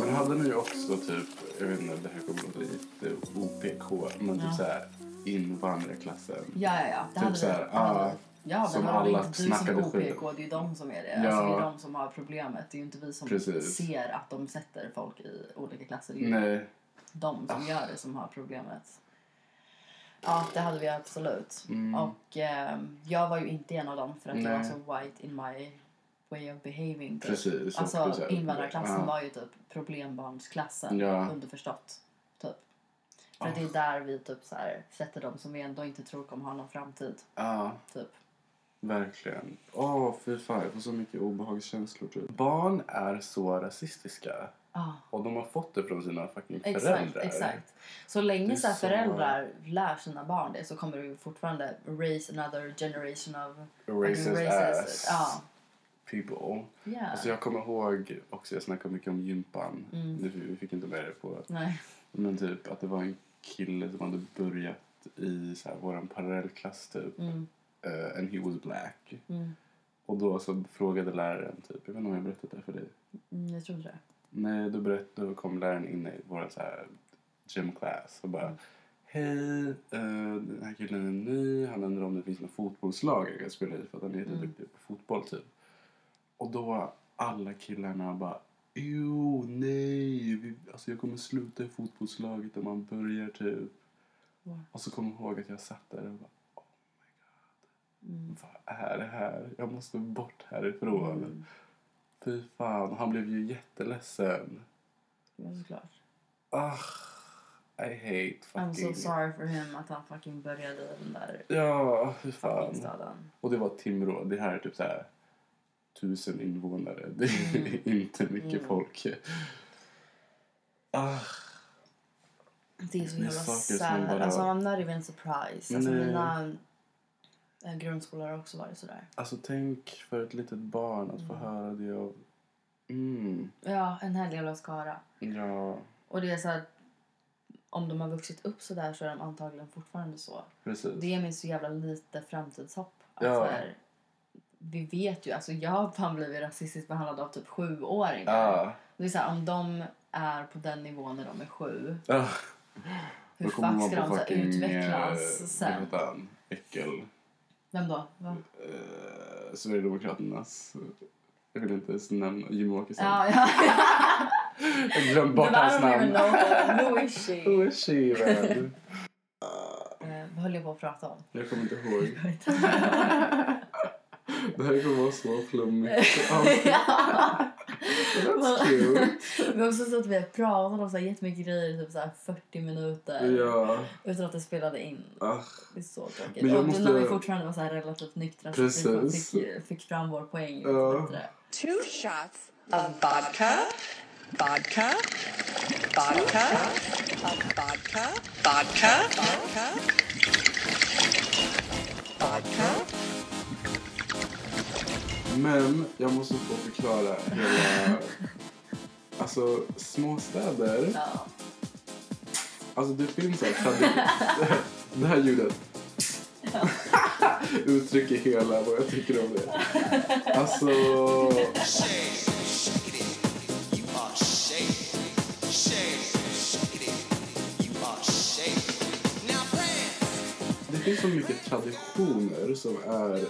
Speaker 2: Men hade ni också typ, jag vet inte, det här kommer låta lite OPK, men typ
Speaker 3: Ja.
Speaker 2: såhär invandrarklassen.
Speaker 3: Ja, ja, ja. Det
Speaker 2: Typ
Speaker 3: hade
Speaker 2: så här,
Speaker 3: vi. Ja,
Speaker 2: ah,
Speaker 3: ja,
Speaker 2: som
Speaker 3: men alla
Speaker 2: alla
Speaker 3: inte du som är
Speaker 2: snackade skit
Speaker 3: OPK, det är ju de som är det.
Speaker 2: Ja.
Speaker 3: Alltså, det är de som har problemet. Det är ju inte vi som
Speaker 2: Precis.
Speaker 3: ser att de sätter folk i olika klasser. Det är ju
Speaker 2: Nej.
Speaker 3: de som gör det som har problemet. Ja, det hade vi absolut. Och ehm, jag var ju inte en av dem för att jag var
Speaker 2: Mm. Nej.
Speaker 3: så white in my way of behaving. typ.
Speaker 2: Precis, och det är så
Speaker 3: Alltså
Speaker 2: här-
Speaker 3: invandrarklassen
Speaker 2: ja.
Speaker 3: var ju typ problembarnsklassen
Speaker 2: Ja.
Speaker 3: underförstått. Typ. För att det är där vi typ så här, sätter dem som vi ändå inte tror kommer ha någon framtid.
Speaker 2: Ja.
Speaker 3: Typ.
Speaker 2: Verkligen. Åh, fy fan. Jag får så mycket obehagskänslor. Typ. Barn är så rasistiska.
Speaker 3: Ah.
Speaker 2: Och de har fått det från sina fucking
Speaker 3: Exakt,
Speaker 2: föräldrar.
Speaker 3: exakt. Så länge
Speaker 2: är
Speaker 3: så här,
Speaker 2: så-
Speaker 3: föräldrar lär sina barn det så kommer vi fortfarande raise another generation of
Speaker 2: Racist
Speaker 3: fucking
Speaker 2: ass.
Speaker 3: Ja.
Speaker 2: People.
Speaker 3: Yeah.
Speaker 2: Alltså jag kommer ihåg också, jag snackade mycket om gympan. Nu, vi fick inte med det på.
Speaker 3: Nej.
Speaker 2: Men typ att det var en kille som hade börjat i så här, våran parallellklass typ. Eh, and he was black. Och då så frågade läraren typ, jag vet inte om jag berättat det här för dig.
Speaker 3: Mm, jag tror inte det.
Speaker 2: Nej, då, berätt, då kom läraren in i vår så här gym class och bara Hej, eh, den här killen är ny. Han undrar om det finns något fotbollslag jag kan spela i för att han är jätteduktig på fotboll typ. Och då var alla killarna bara Jo, nej, vi, alltså jag kommer sluta i fotbollslaget om man börjar typ. Och så kom jag ihåg att jag satt där och bara Oh my god, vad är det här? Jag måste bort härifrån.
Speaker 3: Mm.
Speaker 2: Fy fan, han blev ju jätteledsen.
Speaker 3: Ja, såklart.
Speaker 2: Ah, I hate
Speaker 3: I'm
Speaker 2: fucking...
Speaker 3: so sorry for him att han fucking började i den där
Speaker 2: Ja, fy
Speaker 3: fucking
Speaker 2: fan.
Speaker 3: staden.
Speaker 2: Och det var Timrå. Det här är typ så här tusen invånare. Det är
Speaker 3: Mm.
Speaker 2: inte mycket folk. Ah,
Speaker 3: Det är så
Speaker 2: Det är
Speaker 3: jävla
Speaker 2: saker som
Speaker 3: sad.
Speaker 2: bara-
Speaker 3: Alltså I'm not even surprised. Alltså
Speaker 2: Nej.
Speaker 3: mina eh, grundskolor har också varit sådär.
Speaker 2: alltså tänk för ett litet barn att få höra det av... Mm,
Speaker 3: Ja, en helg jävla skara.
Speaker 2: ja,
Speaker 3: Och det är så att om de har vuxit upp så där så är de antagligen fortfarande så.
Speaker 2: precis.
Speaker 3: Det ger mig så jävla lite framtidshopp. Att
Speaker 2: Ja.
Speaker 3: så här, vi vet ju, alltså jag har fan blivit rasistiskt behandlad av typ sjuåringar.
Speaker 2: Ah,
Speaker 3: Det är så här, om de är på den nivån när de är sju,
Speaker 2: ah.
Speaker 3: hur fuck ska de så här, utvecklas
Speaker 2: eh,
Speaker 3: sen?
Speaker 2: Vad heter han? Äckel.
Speaker 3: Vem då? Va?
Speaker 2: Eh, Sverigedemokraternas... Jag vill inte ens nämna Jimmie Åkesson.
Speaker 3: Ja, ja.
Speaker 2: Jag glömde bort
Speaker 3: Men I
Speaker 2: hans
Speaker 3: don't even
Speaker 2: namn.
Speaker 3: know who is she?
Speaker 2: Who is she, man?
Speaker 3: Eh, Vad höll jag på att prata om?
Speaker 2: Jag kommer inte ihåg. Det här kommer vara så flummigt. Ja, That's cute.
Speaker 3: Men också så att vi har pratat om så här jättemycket grejer i typ så här 40 minuter
Speaker 2: Ja.
Speaker 3: utan att det spelade in.
Speaker 2: Ah,
Speaker 3: Det är så tråkigt.
Speaker 2: Men jag
Speaker 3: och
Speaker 2: måste-
Speaker 3: när vi fortfarande var så här relativt nyktra så att vi
Speaker 2: Precis.
Speaker 3: fick, fick fram vår poäng lite
Speaker 2: Ja.
Speaker 3: bättre.
Speaker 5: Two shots of vodka. Vodka. Vodka. Of vodka. Vodka. Vodka. Vodka.
Speaker 2: Men jag måste få förklara hela... Alltså, småstäder.
Speaker 3: Ja.
Speaker 2: Alltså det finns så här tradi- Det här ljudet uttrycker hela vad jag tycker om det. Alltså... Det finns så mycket traditioner som är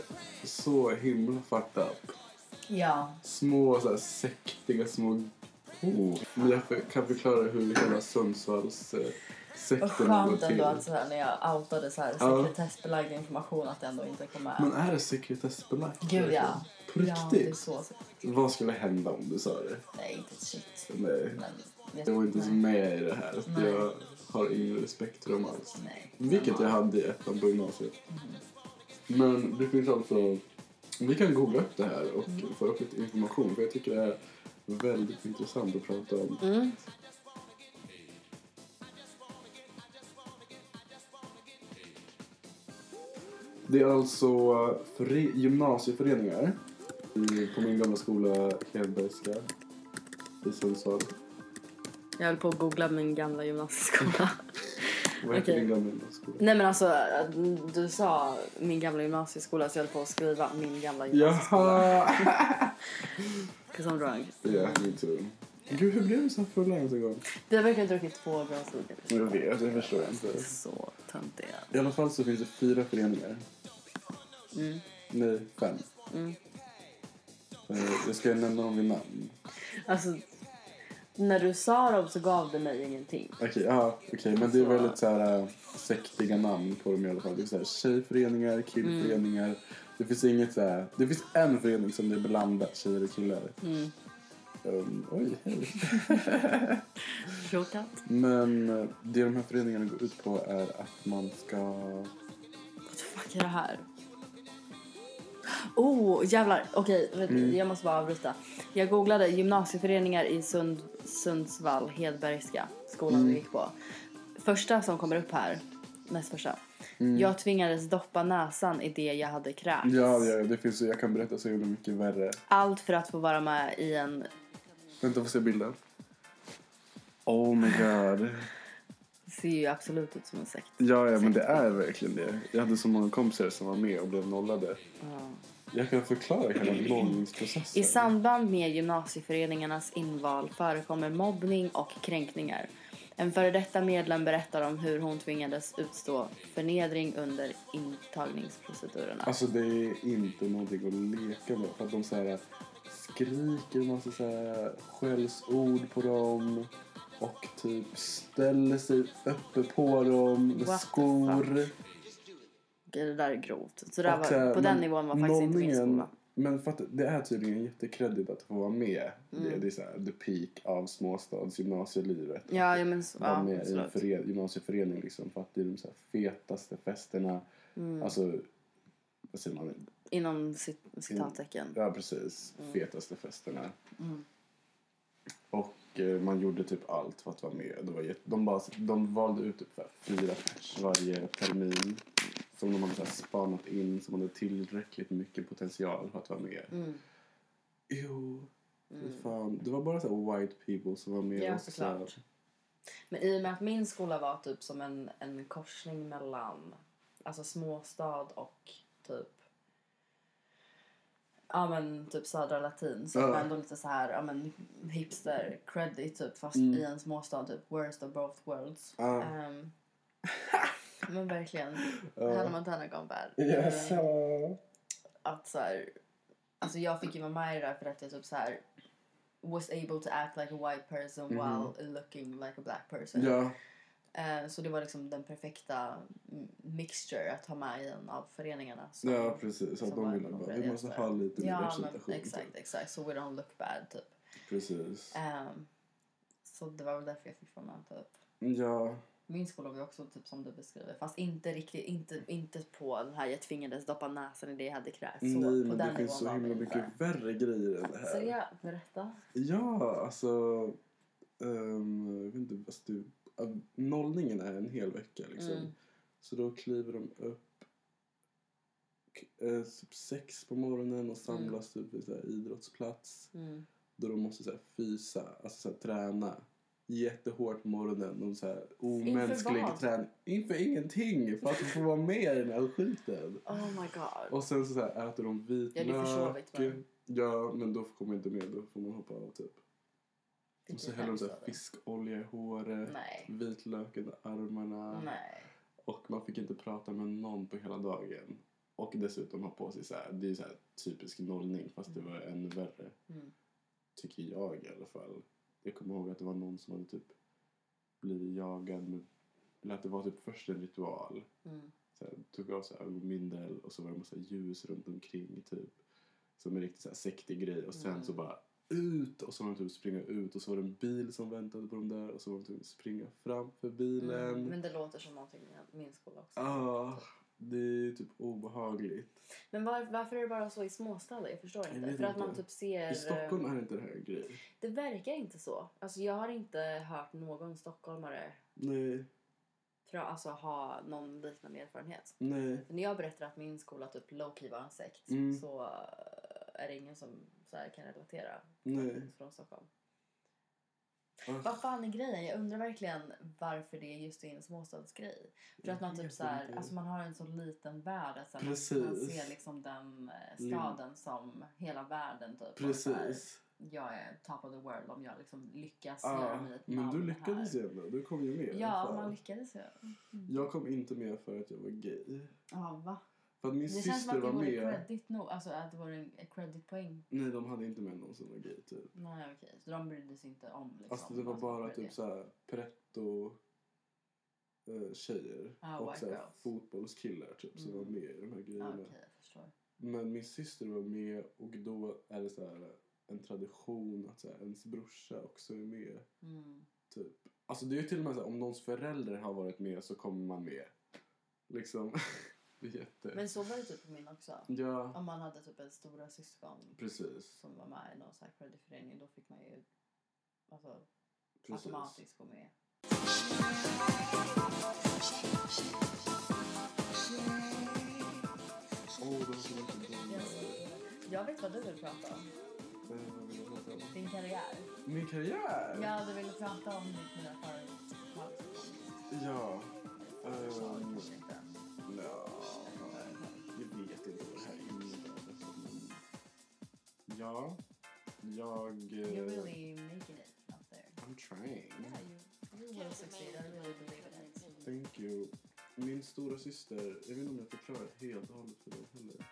Speaker 2: så himla fucked up.
Speaker 3: ja.
Speaker 2: Små så här, sektiga små... Oh. Men jag för- kan förklara hur hela Sundsvalls eh,
Speaker 3: Vad
Speaker 2: sekten går
Speaker 3: skönt
Speaker 2: till.
Speaker 3: ändå att så här, när jag outade så här
Speaker 2: Ja.
Speaker 3: sekretessbelagd information att det ändå inte kom med.
Speaker 2: Men är det sekretessbelagt?
Speaker 3: Gud ja.
Speaker 2: På
Speaker 3: Ja, det är
Speaker 2: riktigt?
Speaker 3: så.
Speaker 2: Vad skulle hända om du sa det?
Speaker 3: Nej, inte ett shit.
Speaker 2: Nej.
Speaker 3: Men, vet
Speaker 2: Jag var inte ens
Speaker 3: nej.
Speaker 2: med i det här.
Speaker 3: Nej.
Speaker 2: Jag har ingen respekt för dem alls.
Speaker 3: Nej. Mm.
Speaker 2: Vilket jag hade i ettan på gymnasiet. Men det finns alltså... Vi kan googla upp det här och
Speaker 3: Mm.
Speaker 2: få upp lite information. För jag tycker det är väldigt intressant att prata om.
Speaker 3: Mm.
Speaker 2: Det är alltså före- gymnasieföreningar i- på min gamla skola Hedbergska i Sundsvall.
Speaker 1: Jag höll på att googla min gamla gymnasieskola.
Speaker 2: Vad heter
Speaker 1: Okej.
Speaker 2: din gamla gymnasieskola?
Speaker 1: Nej men alltså, du sa min gamla gymnasieskola så jag höll på att skriva min gamla gymnasieskola.
Speaker 2: Jaha!
Speaker 1: Cause I'm drunk.
Speaker 2: Ja, me too. Gud, hur blev du så här full ens en gång?
Speaker 1: Vi har verkligen druckit två bra sidor.
Speaker 2: Jag vet, det förstår jag inte.
Speaker 1: Så töntiga.
Speaker 2: I alla fall så finns det fyra föreningar. Mm. Nej, fem. Mm. Eh, Jag ska nämna dem vid namn.
Speaker 1: Alltså, när du sa dem så gav det mig ingenting.
Speaker 2: Okej, ja, okej, men det är väldigt så här äh, sektiga namn på dem i alla fall. Det är så här, tjejföreningar, killföreningar. Det finns inget så här, Det finns en förening som det är blandat tjejer och killar. Mm. Ehm, oj, hej.
Speaker 1: Shortcut.
Speaker 2: Men eh, det de här föreningarna går ut på är att man ska...
Speaker 1: What the fuck är det här? Oh, jävlar. Okej, vet du, jag måste bara avbryta. Jag googlade gymnasieföreningar i Sund, Sundsvall, Hedbergska, skolan vi gick på. Första som kommer upp här, näst första. Jag tvingades doppa näsan i det jag hade krävt.
Speaker 2: Ja, ja det finns, jag kan berätta så himla mycket värre.
Speaker 1: Allt för att få vara med i en...
Speaker 2: Vänta, får se bilden. Oh my god.
Speaker 1: Ser ju absolut ut som en sekt.
Speaker 2: Ja, ja, men det är verkligen det. Jag hade så många kompisar som var med och blev nollade. Jag kan förklara hela nollningsprocessen.
Speaker 1: I samband med gymnasieföreningarnas inval förekommer mobbning och kränkningar. En före detta medlem berättar om hur hon tvingades utstå förnedring under intagningsprocedurerna.
Speaker 2: Alltså det är inte någonting att leka med. För att de så här skriker en massa så här skällsord på dem. Och typ ställer sig uppe på dem med
Speaker 1: What the
Speaker 2: skor.
Speaker 1: fuck? Det där är grovt. Så där
Speaker 2: Och så här,
Speaker 1: var, på den
Speaker 2: men
Speaker 1: nivån var faktiskt inte min
Speaker 2: nollningen-
Speaker 1: skola.
Speaker 2: Men fatta, det är tydligen jättekredit att få vara med. Det, det är så här the peak av småstadsgymnasielivet.
Speaker 1: Mm. Ja, ja men så,
Speaker 2: vara
Speaker 1: ja,
Speaker 2: med i en
Speaker 1: absolut.
Speaker 2: före- gymnasieförening liksom, för att det är de så här fetaste festerna.
Speaker 1: Mm.
Speaker 2: Alltså, vad säger man?
Speaker 1: Inom cit-
Speaker 2: Mm.
Speaker 1: citattecken.
Speaker 2: Ja, precis.
Speaker 3: Mm.
Speaker 2: Fetaste festerna. Och eh, man gjorde typ allt för att vara med. Det var jätte- de, bara, de valde ut typ så här fyra pers varje termin som de hade så här spanat in som hade tillräckligt mycket potential för att vara med.
Speaker 1: Mm.
Speaker 2: Jo, fy fan. Det var bara så här white people som var med.
Speaker 3: Mm. Ja,
Speaker 2: och så här-
Speaker 3: såklart. Men i och med att min skola var typ som en, en korsning mellan alltså småstad och typ ja men typ södra latin så
Speaker 2: Ja.
Speaker 3: det var ändå lite så här ja men hipster credit typ fast
Speaker 2: Mm.
Speaker 3: i en småstad typ worst of both worlds.
Speaker 2: Ja.
Speaker 3: Ehm, men verkligen.
Speaker 2: Ja.
Speaker 3: Hannah Montana gone bad.
Speaker 2: Yes.
Speaker 3: Ehm,
Speaker 2: ja.
Speaker 3: att så här, alltså jag fick ju vara med i det där för att jag typ så här was able to act like a white person while looking like a black person.
Speaker 2: Mm-hmm. Ja.
Speaker 3: Eh, så det var liksom den perfekta m- mixture att ha med i en av föreningarna. som-
Speaker 2: Ja, precis. Så att
Speaker 3: som var
Speaker 2: de ville bara, vi
Speaker 3: involverade i
Speaker 2: måste
Speaker 3: det.
Speaker 2: ha lite mer
Speaker 3: Ja, men
Speaker 2: representation.
Speaker 3: exakt, exakt. So we don't look bad typ.
Speaker 2: Precis.
Speaker 3: Ehm, så det var väl därför jag fick vara med typ.
Speaker 2: Ja,
Speaker 3: Min skola var ju också typ som du beskriver. Fast inte riktigt, inte, inte på den här jag tvingades doppa näsan i det jag hade krävts. Så
Speaker 2: nej
Speaker 3: på
Speaker 2: men
Speaker 3: den
Speaker 2: det finns så
Speaker 3: var
Speaker 2: himla
Speaker 3: vi
Speaker 2: mycket
Speaker 3: inte.
Speaker 2: värre grejer än det här.
Speaker 3: Så jag, berätta.
Speaker 2: Ja, alltså... ehm, jag vet inte, alltså du, av- nollningen är en hel vecka liksom.
Speaker 3: Mm.
Speaker 2: Så då kliver de upp k- eh, typ sex på morgonen och samlas typ vid så här, idrottsplats.
Speaker 3: Mm.
Speaker 2: Då de måste så här, fysa, alltså så här, träna jättehårt på morgonen. Och så här, omänsklig
Speaker 3: vad?
Speaker 2: träning. Inför ingenting! För att få vara med i den här skiten.
Speaker 3: Oh my god.
Speaker 2: Och sen så, så här, äter de
Speaker 3: Ja,
Speaker 2: vitlök.
Speaker 3: det är försovigt, men-
Speaker 2: Ja, men då kommer jag inte med. Då får man hoppa av typ.
Speaker 3: Fick
Speaker 2: Och så
Speaker 3: du
Speaker 2: häller de
Speaker 3: skäms
Speaker 2: så här
Speaker 3: över?
Speaker 2: fiskolja i håret,
Speaker 3: Nej.
Speaker 2: vitlök under armarna
Speaker 3: Nej.
Speaker 2: och man fick inte prata med någon på hela dagen. Och dessutom ha på sig så här, det är så här typisk nollning fast det var ännu värre.
Speaker 3: Mm.
Speaker 2: Tycker jag i alla fall. Jag kommer ihåg att det var någon som hade typ blivit jagad med, eller att det var typ först en ritual.
Speaker 3: Mm.
Speaker 2: Så här, tog av sig ögonbindel och så var det en massa ljus runt omkring typ. Som en riktigt så här sektig grej och sen så
Speaker 3: Mm.
Speaker 2: bara ut och så var de typ springa ut och så var det en bil som väntade på dem där och så var de typ springa framför bilen.
Speaker 3: Mm. Men det låter som någonting i min skola också.
Speaker 2: Ah, det är typ obehagligt.
Speaker 3: Men var, varför är det bara så i småstäder? Jag förstår
Speaker 2: Jag
Speaker 3: inte.
Speaker 2: vet
Speaker 3: För att
Speaker 2: inte.
Speaker 3: man typ ser...
Speaker 2: I Stockholm är inte det här en grej.
Speaker 3: Det verkar inte så. Alltså jag har inte hört någon stockholmare
Speaker 2: Nej,
Speaker 3: pra, alltså, ha någon liknande erfarenhet.
Speaker 2: nej.
Speaker 3: För när jag berättar att min skola typ low-key var en sekt
Speaker 2: Mm.
Speaker 3: så eh, är det ingen som så här kan relatera
Speaker 2: Nej.
Speaker 3: från Stockholm.
Speaker 2: Ah,
Speaker 3: Vad fan är grejen? Jag undrar verkligen varför det är just en småstadsgrej. För
Speaker 2: Jag
Speaker 3: att man typ
Speaker 2: vet
Speaker 3: så här,
Speaker 2: inte.
Speaker 3: alltså man har en så liten värld att så här,
Speaker 2: Precis. Mm.
Speaker 3: man ser liksom den eh, staden som hela världen typ. Och så här,
Speaker 2: precis.
Speaker 3: jag är top of the world om jag liksom lyckas göra
Speaker 2: Ah,
Speaker 3: mig ett
Speaker 2: men
Speaker 3: namn
Speaker 2: du lyckades
Speaker 3: här.
Speaker 2: ju ändå. Du kom ju med.
Speaker 3: Ja,
Speaker 2: Fan.
Speaker 3: man lyckades ju.
Speaker 2: Jag kom inte med för att jag var gay.
Speaker 3: Ja, va?
Speaker 2: För att min
Speaker 3: Det känns som
Speaker 2: syster
Speaker 3: att det
Speaker 2: var
Speaker 3: vore
Speaker 2: med.
Speaker 3: credit nog. Alltså att det vore en creditpoäng.
Speaker 2: Nej, de hade inte med någon som var gay typ.
Speaker 3: Nej, okej. Så de brydde sig inte om liksom.
Speaker 2: Alltså det var
Speaker 3: vad som
Speaker 2: bara
Speaker 3: var
Speaker 2: typ
Speaker 3: det.
Speaker 2: såhär pretto eh, tjejer
Speaker 3: Ah,
Speaker 2: och
Speaker 3: white
Speaker 2: såhär
Speaker 3: girls.
Speaker 2: fotbollskillar typ som var med i de här
Speaker 3: Ja,
Speaker 2: grejerna.
Speaker 3: Okej, jag förstår.
Speaker 2: Men min syster var med och då är det så här en tradition att så här, ens brorsa också är med.
Speaker 3: Mm.
Speaker 2: Typ. Alltså det är ju till och med så här, om någons föräldrar har varit med så kommer man med. Liksom. det är jätte...
Speaker 3: Men så var det typ på min också.
Speaker 2: Ja,
Speaker 3: Om man hade typ en stora syskon
Speaker 2: precis.
Speaker 3: som var med i någon sån här creditförening då fick man ju alltså,
Speaker 2: precis.
Speaker 3: automatiskt gå med.
Speaker 2: Åh, det var så mycket dumma.
Speaker 3: Jag vet vad du vill prata om.
Speaker 2: Eh, vad vill jag prata om?
Speaker 3: Din karriär.
Speaker 2: Min karriär!
Speaker 3: Ja, du ville prata om ditt nya företag.
Speaker 2: Ja. Ehm,
Speaker 3: Kanske inte.
Speaker 2: Nja, jag vet inte vad det här innebär. Ja, jag...
Speaker 3: You're
Speaker 2: eh,
Speaker 3: really making it out there.
Speaker 2: I'm trying.
Speaker 3: Yeah, you, you will succeed. I really believe in it.
Speaker 2: Thank you. Min stora syster, jag vet inte om jag förklarar helt och hållet för dem heller.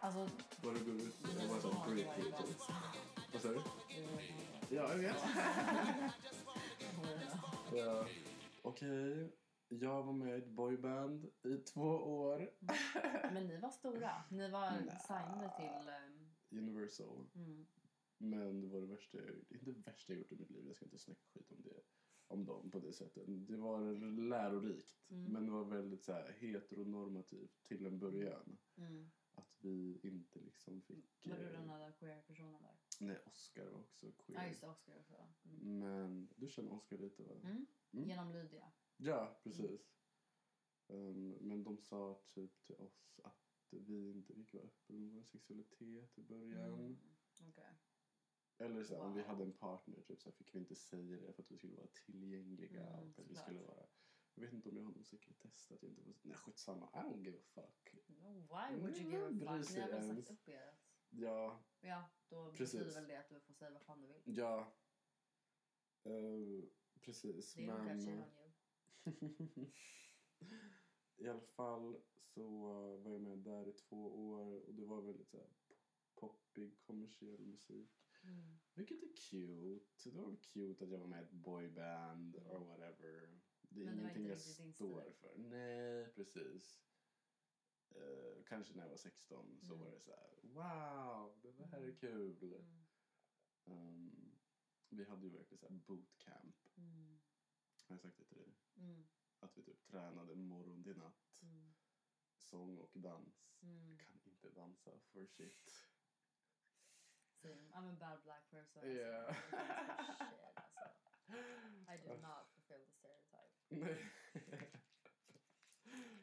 Speaker 3: Alltså,
Speaker 2: Vad det går ut på. Jag var
Speaker 3: har
Speaker 2: såhär
Speaker 3: du varit
Speaker 2: break
Speaker 3: igång?
Speaker 2: typ. Vad sa du? Ja, jag vet. Ja. Okej, jag var med i ett boyband i två år.
Speaker 3: Men ni var stora. Ni var signade till... ehm, mm.
Speaker 2: Universal. Men det var det värsta jag gjort. Inte det värsta jag gjort i mitt liv. Jag ska inte snacka skit om det. Om dem på det sättet. Det var lärorikt.
Speaker 3: Mm.
Speaker 2: Men det var väldigt så här, heteronormativt till en början.
Speaker 3: Mm.
Speaker 2: Att vi inte liksom fick...
Speaker 3: Var du
Speaker 2: eh,
Speaker 3: den där queer-personen där?
Speaker 2: Nej, Oscar var också queer.
Speaker 3: Ja, just det. Oscar också. va? Mm.
Speaker 2: Men du känner Oscar lite va?
Speaker 3: Mm.
Speaker 2: Mm.
Speaker 3: Genom Lydia.
Speaker 2: Ja, precis. Ehm, men de sa typ till oss att vi inte fick vara öppna med vår sexualitet i början.
Speaker 3: Mm. Okej.
Speaker 2: Eller så här, om vi
Speaker 3: Wow.
Speaker 2: hade en partner typ, så här, fick vi inte säga det för att vi skulle vara tillgängliga.
Speaker 3: Mm,
Speaker 2: och för att vi
Speaker 3: såklart.
Speaker 2: skulle vara... Jag vet inte om jag har någon sekretess. Att jag inte får... Nej, skitsamma. I don't give a fuck.
Speaker 3: No, Why would you
Speaker 2: Mm,
Speaker 3: give a
Speaker 2: bryr
Speaker 3: fuck? Ni
Speaker 2: sig
Speaker 3: har väl
Speaker 2: ens.
Speaker 3: sagt upp er?
Speaker 2: Ja,
Speaker 3: Ja, då
Speaker 2: Precis.
Speaker 3: betyder väl det att du får säga vad fan du vill.
Speaker 2: ja. Eh, precis,
Speaker 3: Det är nog
Speaker 2: men
Speaker 3: kanske
Speaker 2: eh,
Speaker 3: on you.
Speaker 2: i alla fall så var jag med där i två år och det var väldigt så här, poppig kommersiell musik.
Speaker 3: Mm.
Speaker 2: Vilket är cute. Det var väl cute att jag var med i ett boyband or whatever. Det är
Speaker 3: Men det var
Speaker 2: ingenting
Speaker 3: inte
Speaker 2: jag
Speaker 3: riktigt din
Speaker 2: står
Speaker 3: stil.
Speaker 2: för. Nej, precis. Eh, kanske när jag var 16 så
Speaker 3: Mm.
Speaker 2: var det så här: wow, det här är kul.
Speaker 3: Mm.
Speaker 2: Ehm, Vi hade ju verkligen så här bootcamp. Har jag sagt det till dig?
Speaker 3: Mm.
Speaker 2: Att vi typ tränade morgon till natt. Sång och
Speaker 3: Mm.
Speaker 2: dans. Jag kan inte dansa for shit.
Speaker 3: Säger de, I'm a bad black person.
Speaker 2: Yeah.
Speaker 3: Alltså, jag är ganska shit, alltså. I do not fulfill the stereotype.
Speaker 2: Nej.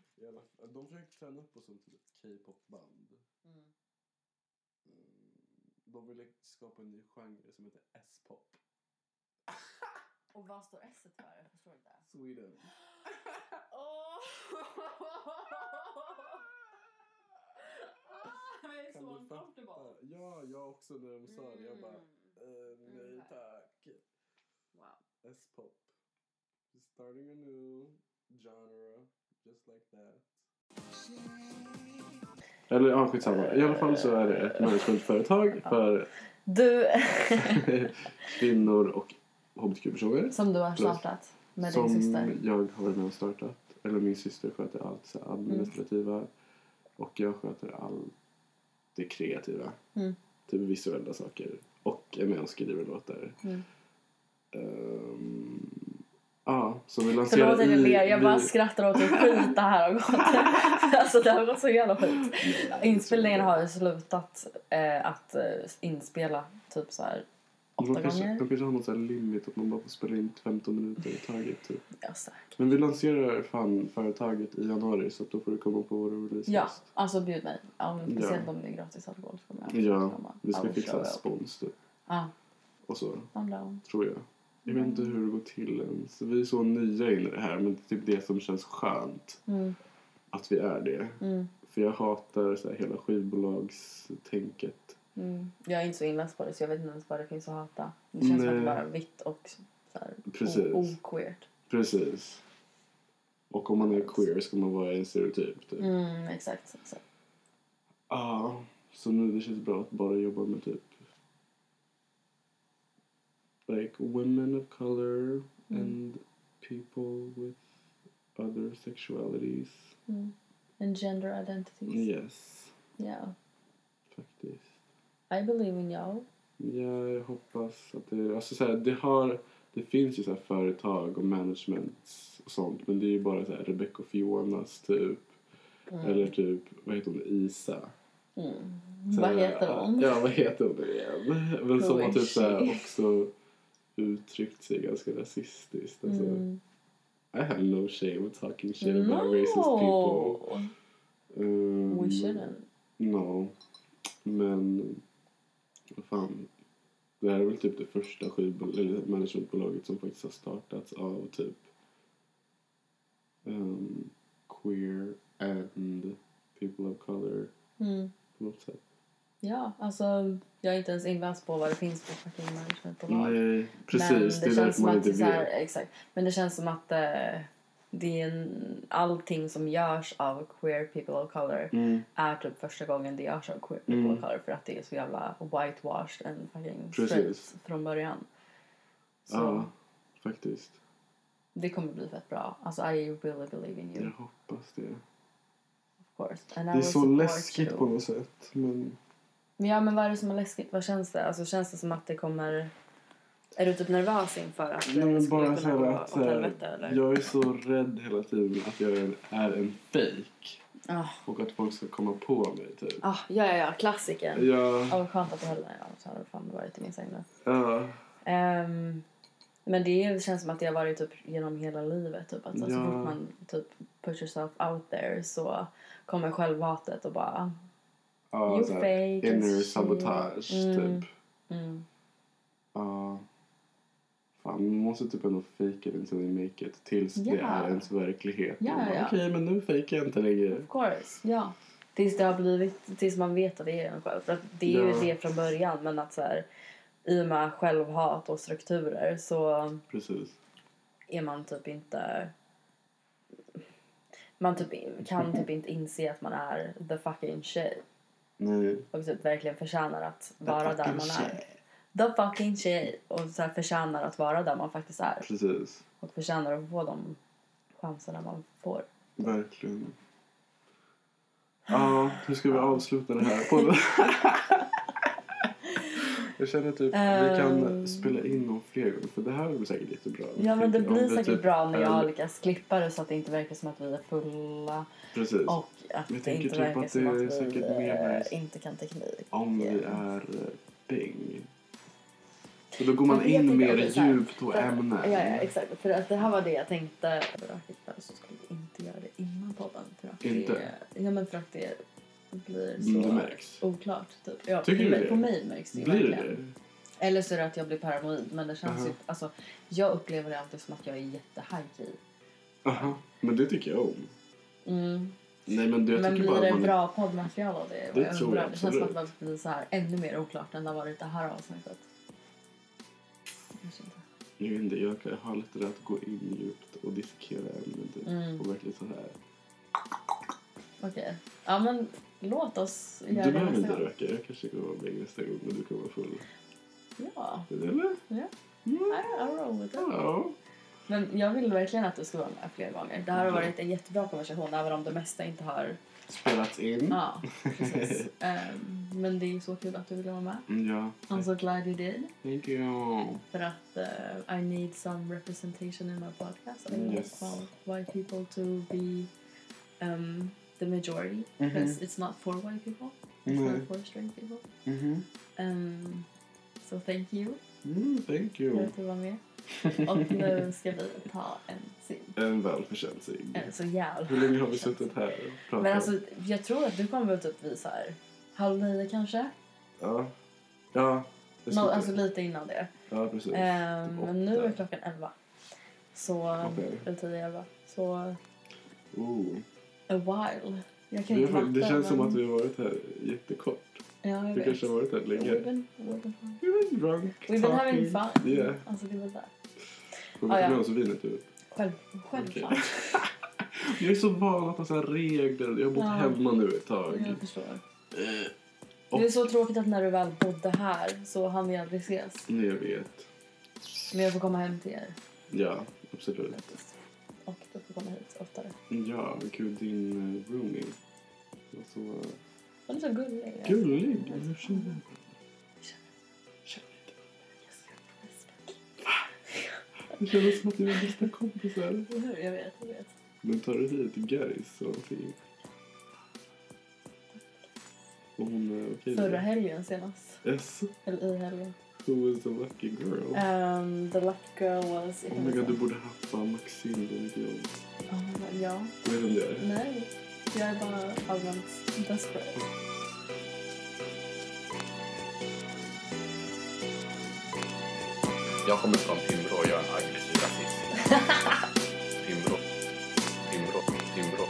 Speaker 2: I alla fall, de försökte träna upp oss som till ett K-pop-band.
Speaker 3: Mm.
Speaker 2: Mm, De ville skapa en ny genre som heter S-pop.
Speaker 3: Och vad står S för? Jag förstår inte.
Speaker 2: Sweden.
Speaker 3: Åh! Jag är
Speaker 2: Kan
Speaker 3: så
Speaker 2: du
Speaker 3: uncomfortable.
Speaker 2: fatta? Ja, jag också när de sa det. Jag bara, eh, nej
Speaker 3: Mm.
Speaker 2: tack.
Speaker 3: Wow.
Speaker 2: S-pop. Starting a new genre, just like that. Eller ja, skitsamma. I alla fall så är det ett managementföretag för
Speaker 3: Du,
Speaker 2: kvinnor och hbtq-personer.
Speaker 3: som du har startat med
Speaker 2: Som
Speaker 3: din syster.
Speaker 2: jag har varit med och startat. Eller min syster sköter allt så här administrativa. Och jag sköter allt det kreativa.
Speaker 3: Mm.
Speaker 2: Typ visuella saker. Och är med och skriver låtar.
Speaker 3: Mm.
Speaker 2: Ehm, ja, så vi lanserar
Speaker 3: Förlåt att jag ler, jag
Speaker 2: vi-
Speaker 3: bara skrattar åt hur skit det här har gått. alltså det har gått så jävla skit. Inspelningen har ju slutat eh, att eh, inspela typ så här
Speaker 2: de
Speaker 3: åtta
Speaker 2: kanske,
Speaker 3: gånger.
Speaker 2: De kanske har någon sån här limit att man bara får spela in 15 minuter i taget. Typ.
Speaker 3: Ja, säkert.
Speaker 2: Men vi lanserar fan företaget i januari så att då får du komma på vår releasefest.
Speaker 3: Ja, alltså bjud mig. Ja, men
Speaker 2: Ja.
Speaker 3: speciellt om det är gratis alkohol. så kommer jag absolut
Speaker 2: Ja,
Speaker 3: komma.
Speaker 2: vi
Speaker 3: I
Speaker 2: ska
Speaker 3: will
Speaker 2: fixa
Speaker 3: show up.
Speaker 2: spons typ.
Speaker 3: Ja,
Speaker 2: Och så.
Speaker 3: I'm down.
Speaker 2: tror jag. Jag vet inte hur det går till ens. Vi är så nya in i det här men det är typ det som känns skönt.
Speaker 3: Mm.
Speaker 2: Att vi är det.
Speaker 3: Mm.
Speaker 2: För jag hatar så här hela skivbolagstänket.
Speaker 3: Mm. Jag är inte så inläst på det så jag vet inte ens vad det finns att hata. Det känns som att det
Speaker 2: Nej.
Speaker 3: bara är vitt och så här,
Speaker 2: Precis.
Speaker 3: o- oqueert.
Speaker 2: Precis. Och om man är queer ska man vara en stereotyp typ.
Speaker 3: Mm, exakt. exakt.
Speaker 2: Ja. Så nu det känns bra att bara jobba med typ like women of color and people with other sexualities.
Speaker 3: Mm. And gender identities.
Speaker 2: Yes,
Speaker 3: Yeah.
Speaker 2: faktiskt.
Speaker 3: I believe in you.
Speaker 2: Ja, jag hoppas att det... Alltså så här, det, har, det finns ju så här företag och management och sånt men det är ju bara så här Rebecca och Fionas typ. Eller typ, vad heter hon, Isa?
Speaker 3: Mm.
Speaker 2: Så
Speaker 3: Vad
Speaker 2: här,
Speaker 3: heter hon?
Speaker 2: Ja, vad heter hon igen? Men som
Speaker 3: Who
Speaker 2: har
Speaker 3: is
Speaker 2: typ så här
Speaker 3: she?
Speaker 2: också uttryckt sig ganska rasistiskt. Alltså,
Speaker 3: Mm.
Speaker 2: I have no shame talking shit about racist people.
Speaker 3: No!
Speaker 2: Um,
Speaker 3: We shouldn't.
Speaker 2: No. Men vad fan. Det här är väl typ det första skivbol- eller managementbolaget som faktiskt har startats av typ ehm, queer and people of color
Speaker 3: Mm.
Speaker 2: på något sätt.
Speaker 3: Ja, alltså jag är inte ens inläst på vad det finns för fucking managementbolag.
Speaker 2: Nej, precis.
Speaker 3: Men det
Speaker 2: det är
Speaker 3: känns
Speaker 2: därför
Speaker 3: som
Speaker 2: man
Speaker 3: att
Speaker 2: inte
Speaker 3: det är så här,
Speaker 2: vet.
Speaker 3: exakt. Men det känns som att eh, det är en, allting som görs av queer people of color
Speaker 2: Mm,
Speaker 3: är typ första gången det görs av queer people
Speaker 2: Mm.
Speaker 3: of color för att det är så jävla whitewashed and fucking
Speaker 2: Precis.
Speaker 3: straight från början. Så
Speaker 2: ja, faktiskt.
Speaker 3: det kommer bli fett bra. Alltså I really believe in you
Speaker 2: Jag hoppas det.
Speaker 3: of course. And I
Speaker 2: Det är
Speaker 3: will
Speaker 2: så
Speaker 3: support
Speaker 2: läskigt
Speaker 3: you.
Speaker 2: på något sätt. Men
Speaker 3: Men ja, men vad är det som är läskigt? Vad känns det? Alltså känns det som att det kommer... Är du typ nervös inför att
Speaker 2: Nej,
Speaker 3: det
Speaker 2: men
Speaker 3: skulle
Speaker 2: bara så
Speaker 3: kunna
Speaker 2: här
Speaker 3: gå
Speaker 2: att
Speaker 3: åt
Speaker 2: så här,
Speaker 3: helvete eller?
Speaker 2: jag är så rädd hela tiden att jag är- är en fake
Speaker 3: Ah,
Speaker 2: och att folk ska komma på mig typ.
Speaker 3: ah, ja, ja, ja, klassikern.
Speaker 2: Ja,
Speaker 3: Ja, vad skönt att du höll mig. Ja, så hade det fan varit i min säng nu.
Speaker 2: ja,
Speaker 3: Ehm, men det är- det känns som att det har varit typ genom hela livet. Typ, att så, så
Speaker 2: Ja.
Speaker 3: fort man typ put yourself out there så kommer självhatet och bara...
Speaker 2: ja
Speaker 3: You
Speaker 2: så här,
Speaker 3: fake as
Speaker 2: inner
Speaker 3: shit.
Speaker 2: sabotage
Speaker 3: Mm.
Speaker 2: typ.
Speaker 3: Mm,
Speaker 2: Ja. Fan, man måste typ ändå fejka it until you make it tills det
Speaker 3: Ja.
Speaker 2: är ens verklighet.
Speaker 3: Ja,
Speaker 2: Man bara,
Speaker 3: ja.
Speaker 2: Okej, men nu fejkar jag inte längre.
Speaker 3: of course, ja. Tills det har blivit... Tills man vet att det är en själv. För att det är
Speaker 2: Ja.
Speaker 3: ju det från början. Men att så här, i och med självhat och strukturer så...
Speaker 2: Precis.
Speaker 3: är man typ inte... Man typ,
Speaker 2: Mhm.
Speaker 3: kan typ inte inse att man är the fucking shit.
Speaker 2: Nej.
Speaker 3: Och typ verkligen förtjänar att vara där
Speaker 2: fucking
Speaker 3: man är.
Speaker 2: shit.
Speaker 3: The fucking shit. Och så här förtjänar att vara där man faktiskt är.
Speaker 2: Precis.
Speaker 3: Och förtjänar att få de chanserna man får.
Speaker 2: Verkligen. Ja, hur ska vi avsluta det här? På Jag känner typ vi kan spela in någon fler gånger för det här blir säkert lite bra.
Speaker 3: Ehm. Ja men det
Speaker 2: Tänker om
Speaker 3: blir
Speaker 2: vi
Speaker 3: säkert
Speaker 2: typ
Speaker 3: bra när
Speaker 2: är-
Speaker 3: jag lyckas klippa det så att det inte verkar som att vi är fulla
Speaker 2: Precis.
Speaker 3: och att
Speaker 2: Jag
Speaker 3: det
Speaker 2: tänker
Speaker 3: inte
Speaker 2: typ
Speaker 3: verkar
Speaker 2: att
Speaker 3: som
Speaker 2: det
Speaker 3: att
Speaker 2: är
Speaker 3: vi
Speaker 2: säkert mer
Speaker 3: eh,
Speaker 2: nice.
Speaker 3: inte kan teknik.
Speaker 2: Om vi
Speaker 3: igen.
Speaker 2: är eh, bäng. Så då går man
Speaker 3: Jag vet inte
Speaker 2: in
Speaker 3: om
Speaker 2: mer
Speaker 3: det är så här.
Speaker 2: djupt på
Speaker 3: För-
Speaker 2: ämnen.
Speaker 3: Ja, ja, exakt. För att det här var det jag tänkte. Bra hittar, så skulle vi inte göra det innan podden. För att
Speaker 2: Inte?
Speaker 3: Det, ja, men för att det blir så
Speaker 2: Mm, det märks.
Speaker 3: oklart. Typ. Ja,
Speaker 2: Tycker
Speaker 3: på,
Speaker 2: du
Speaker 3: mig-
Speaker 2: det?
Speaker 3: på mig märks det ju
Speaker 2: Blir det
Speaker 3: verkligen.
Speaker 2: det?
Speaker 3: Eller så är det att jag blir paranoid. Men det känns
Speaker 2: Aha.
Speaker 3: ju, alltså, jag upplever det alltid som att jag är jättehajkig.
Speaker 2: Aha. Men det tycker jag om.
Speaker 3: Mm.
Speaker 2: Nej men du, jag
Speaker 3: Men
Speaker 2: tycker
Speaker 3: blir
Speaker 2: bara
Speaker 3: det
Speaker 2: att man...
Speaker 3: bra poddmaterial av det?
Speaker 2: Det tror jag
Speaker 3: det känns som att
Speaker 2: absolut.
Speaker 3: det blir så här ännu mer oklart än det har varit det här avsnittet. Kanske inte.
Speaker 2: Jag vet inte, jag jag har lite det att gå in djupt och dissekera ämnen typ.
Speaker 3: Mm.
Speaker 2: Och verkligen så här.
Speaker 3: Okej. Ja, men låt oss göra
Speaker 2: Du
Speaker 3: det
Speaker 2: behöver
Speaker 3: nästa
Speaker 2: inte
Speaker 3: gång.
Speaker 2: röka, jag kanske kommer vara bäng nästa gång och du kommer vara full.
Speaker 3: Ja.
Speaker 2: Eller?
Speaker 3: Ja. I,
Speaker 2: Mm.
Speaker 3: I roll with it.
Speaker 2: Ja.
Speaker 3: Men jag vill verkligen att du ska vara med fler gånger. Det här har varit en jättebra konversation även om det mesta inte har...
Speaker 2: Spelats in.
Speaker 3: Ja, precis. Ehm, men det är ju så kul att du ville vara med.
Speaker 2: Mm, Ja.
Speaker 3: I'm so glad you did.
Speaker 2: Thank you.
Speaker 3: För att eh, I need some representation in my podcast. I
Speaker 2: Mm,
Speaker 3: need
Speaker 2: yes.
Speaker 3: well, white people to be um, the majority.
Speaker 2: Mhm.
Speaker 3: Because it's not for white people. It's
Speaker 2: Nej.
Speaker 3: not for straight people.
Speaker 2: Mhm.
Speaker 3: Um, so thank you
Speaker 2: Mm, thank you.
Speaker 3: för att du var med. Och nu ska vi ta en sim.
Speaker 2: En välförtjänt cigg.
Speaker 3: Eh, Så jävla...
Speaker 2: Hur länge har vi suttit här och pratat?
Speaker 3: Men alltså, jag tror att du kommer väl typ vid så här halv nio kanske?
Speaker 2: Ja. Ja. jag
Speaker 3: Nå,
Speaker 2: sitter-
Speaker 3: alltså lite innan det.
Speaker 2: ja, precis.
Speaker 3: Ehm,
Speaker 2: Typ åtta.
Speaker 3: men nu är klockan elva. Så,
Speaker 2: Okej.
Speaker 3: eller tio, elva. Så,
Speaker 2: Oh.
Speaker 3: a while. Jag kan
Speaker 2: Vi
Speaker 3: inte
Speaker 2: har,
Speaker 3: matte,
Speaker 2: det känns som
Speaker 3: men-
Speaker 2: att vi har varit här jättekort.
Speaker 3: Ja, jag
Speaker 2: Vi
Speaker 3: vet.
Speaker 2: kanske har varit här länge.
Speaker 3: We've been, we've been fun.
Speaker 2: We've been drunk.
Speaker 3: We've been having fun.
Speaker 2: Yeah.
Speaker 3: Alltså, det var där.
Speaker 2: Får vi
Speaker 3: Ah,
Speaker 2: ta
Speaker 3: ja.
Speaker 2: med oss vinet ut?
Speaker 3: Själv, självklart.
Speaker 2: Okej. Jag är så van att ha så här regler. Jag har bott
Speaker 3: Ja.
Speaker 2: hemma nu ett tag.
Speaker 3: Jag förstår.
Speaker 2: Eh,
Speaker 3: Det är så tråkigt att när du väl bodde här så hann vi aldrig ses.
Speaker 2: Nej, jag vet.
Speaker 3: Men jag får komma hem till er.
Speaker 2: Ja, absolut.
Speaker 3: Och du får komma hit oftare.
Speaker 2: Ja, gud, din eh, roomie var så eh,
Speaker 3: Hon är så gullig. alltså.
Speaker 2: gullig. Hur känner du? Det kändes som att ni var bästa kompisar.
Speaker 3: Eller hur? Jag vet, jag vet.
Speaker 2: Men tar du hit Gais och allting? Och hon är okej
Speaker 3: Förra
Speaker 2: med
Speaker 3: helgen senast.
Speaker 2: det? Yes,
Speaker 3: Eller i helgen.
Speaker 2: who is the lucky girl?
Speaker 3: Um, the lucky girl was...
Speaker 2: Oh my god, du borde haffa Maxine på mitt jobb.
Speaker 3: Oh my god, ja.
Speaker 2: Vad är det där?
Speaker 3: Nej. Jag är bara allmänt desperat.
Speaker 2: Jag kommer från Timrå och jag är en aggressiv rasist. Timrå. Timrå. Timrå.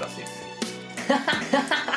Speaker 2: Rasist.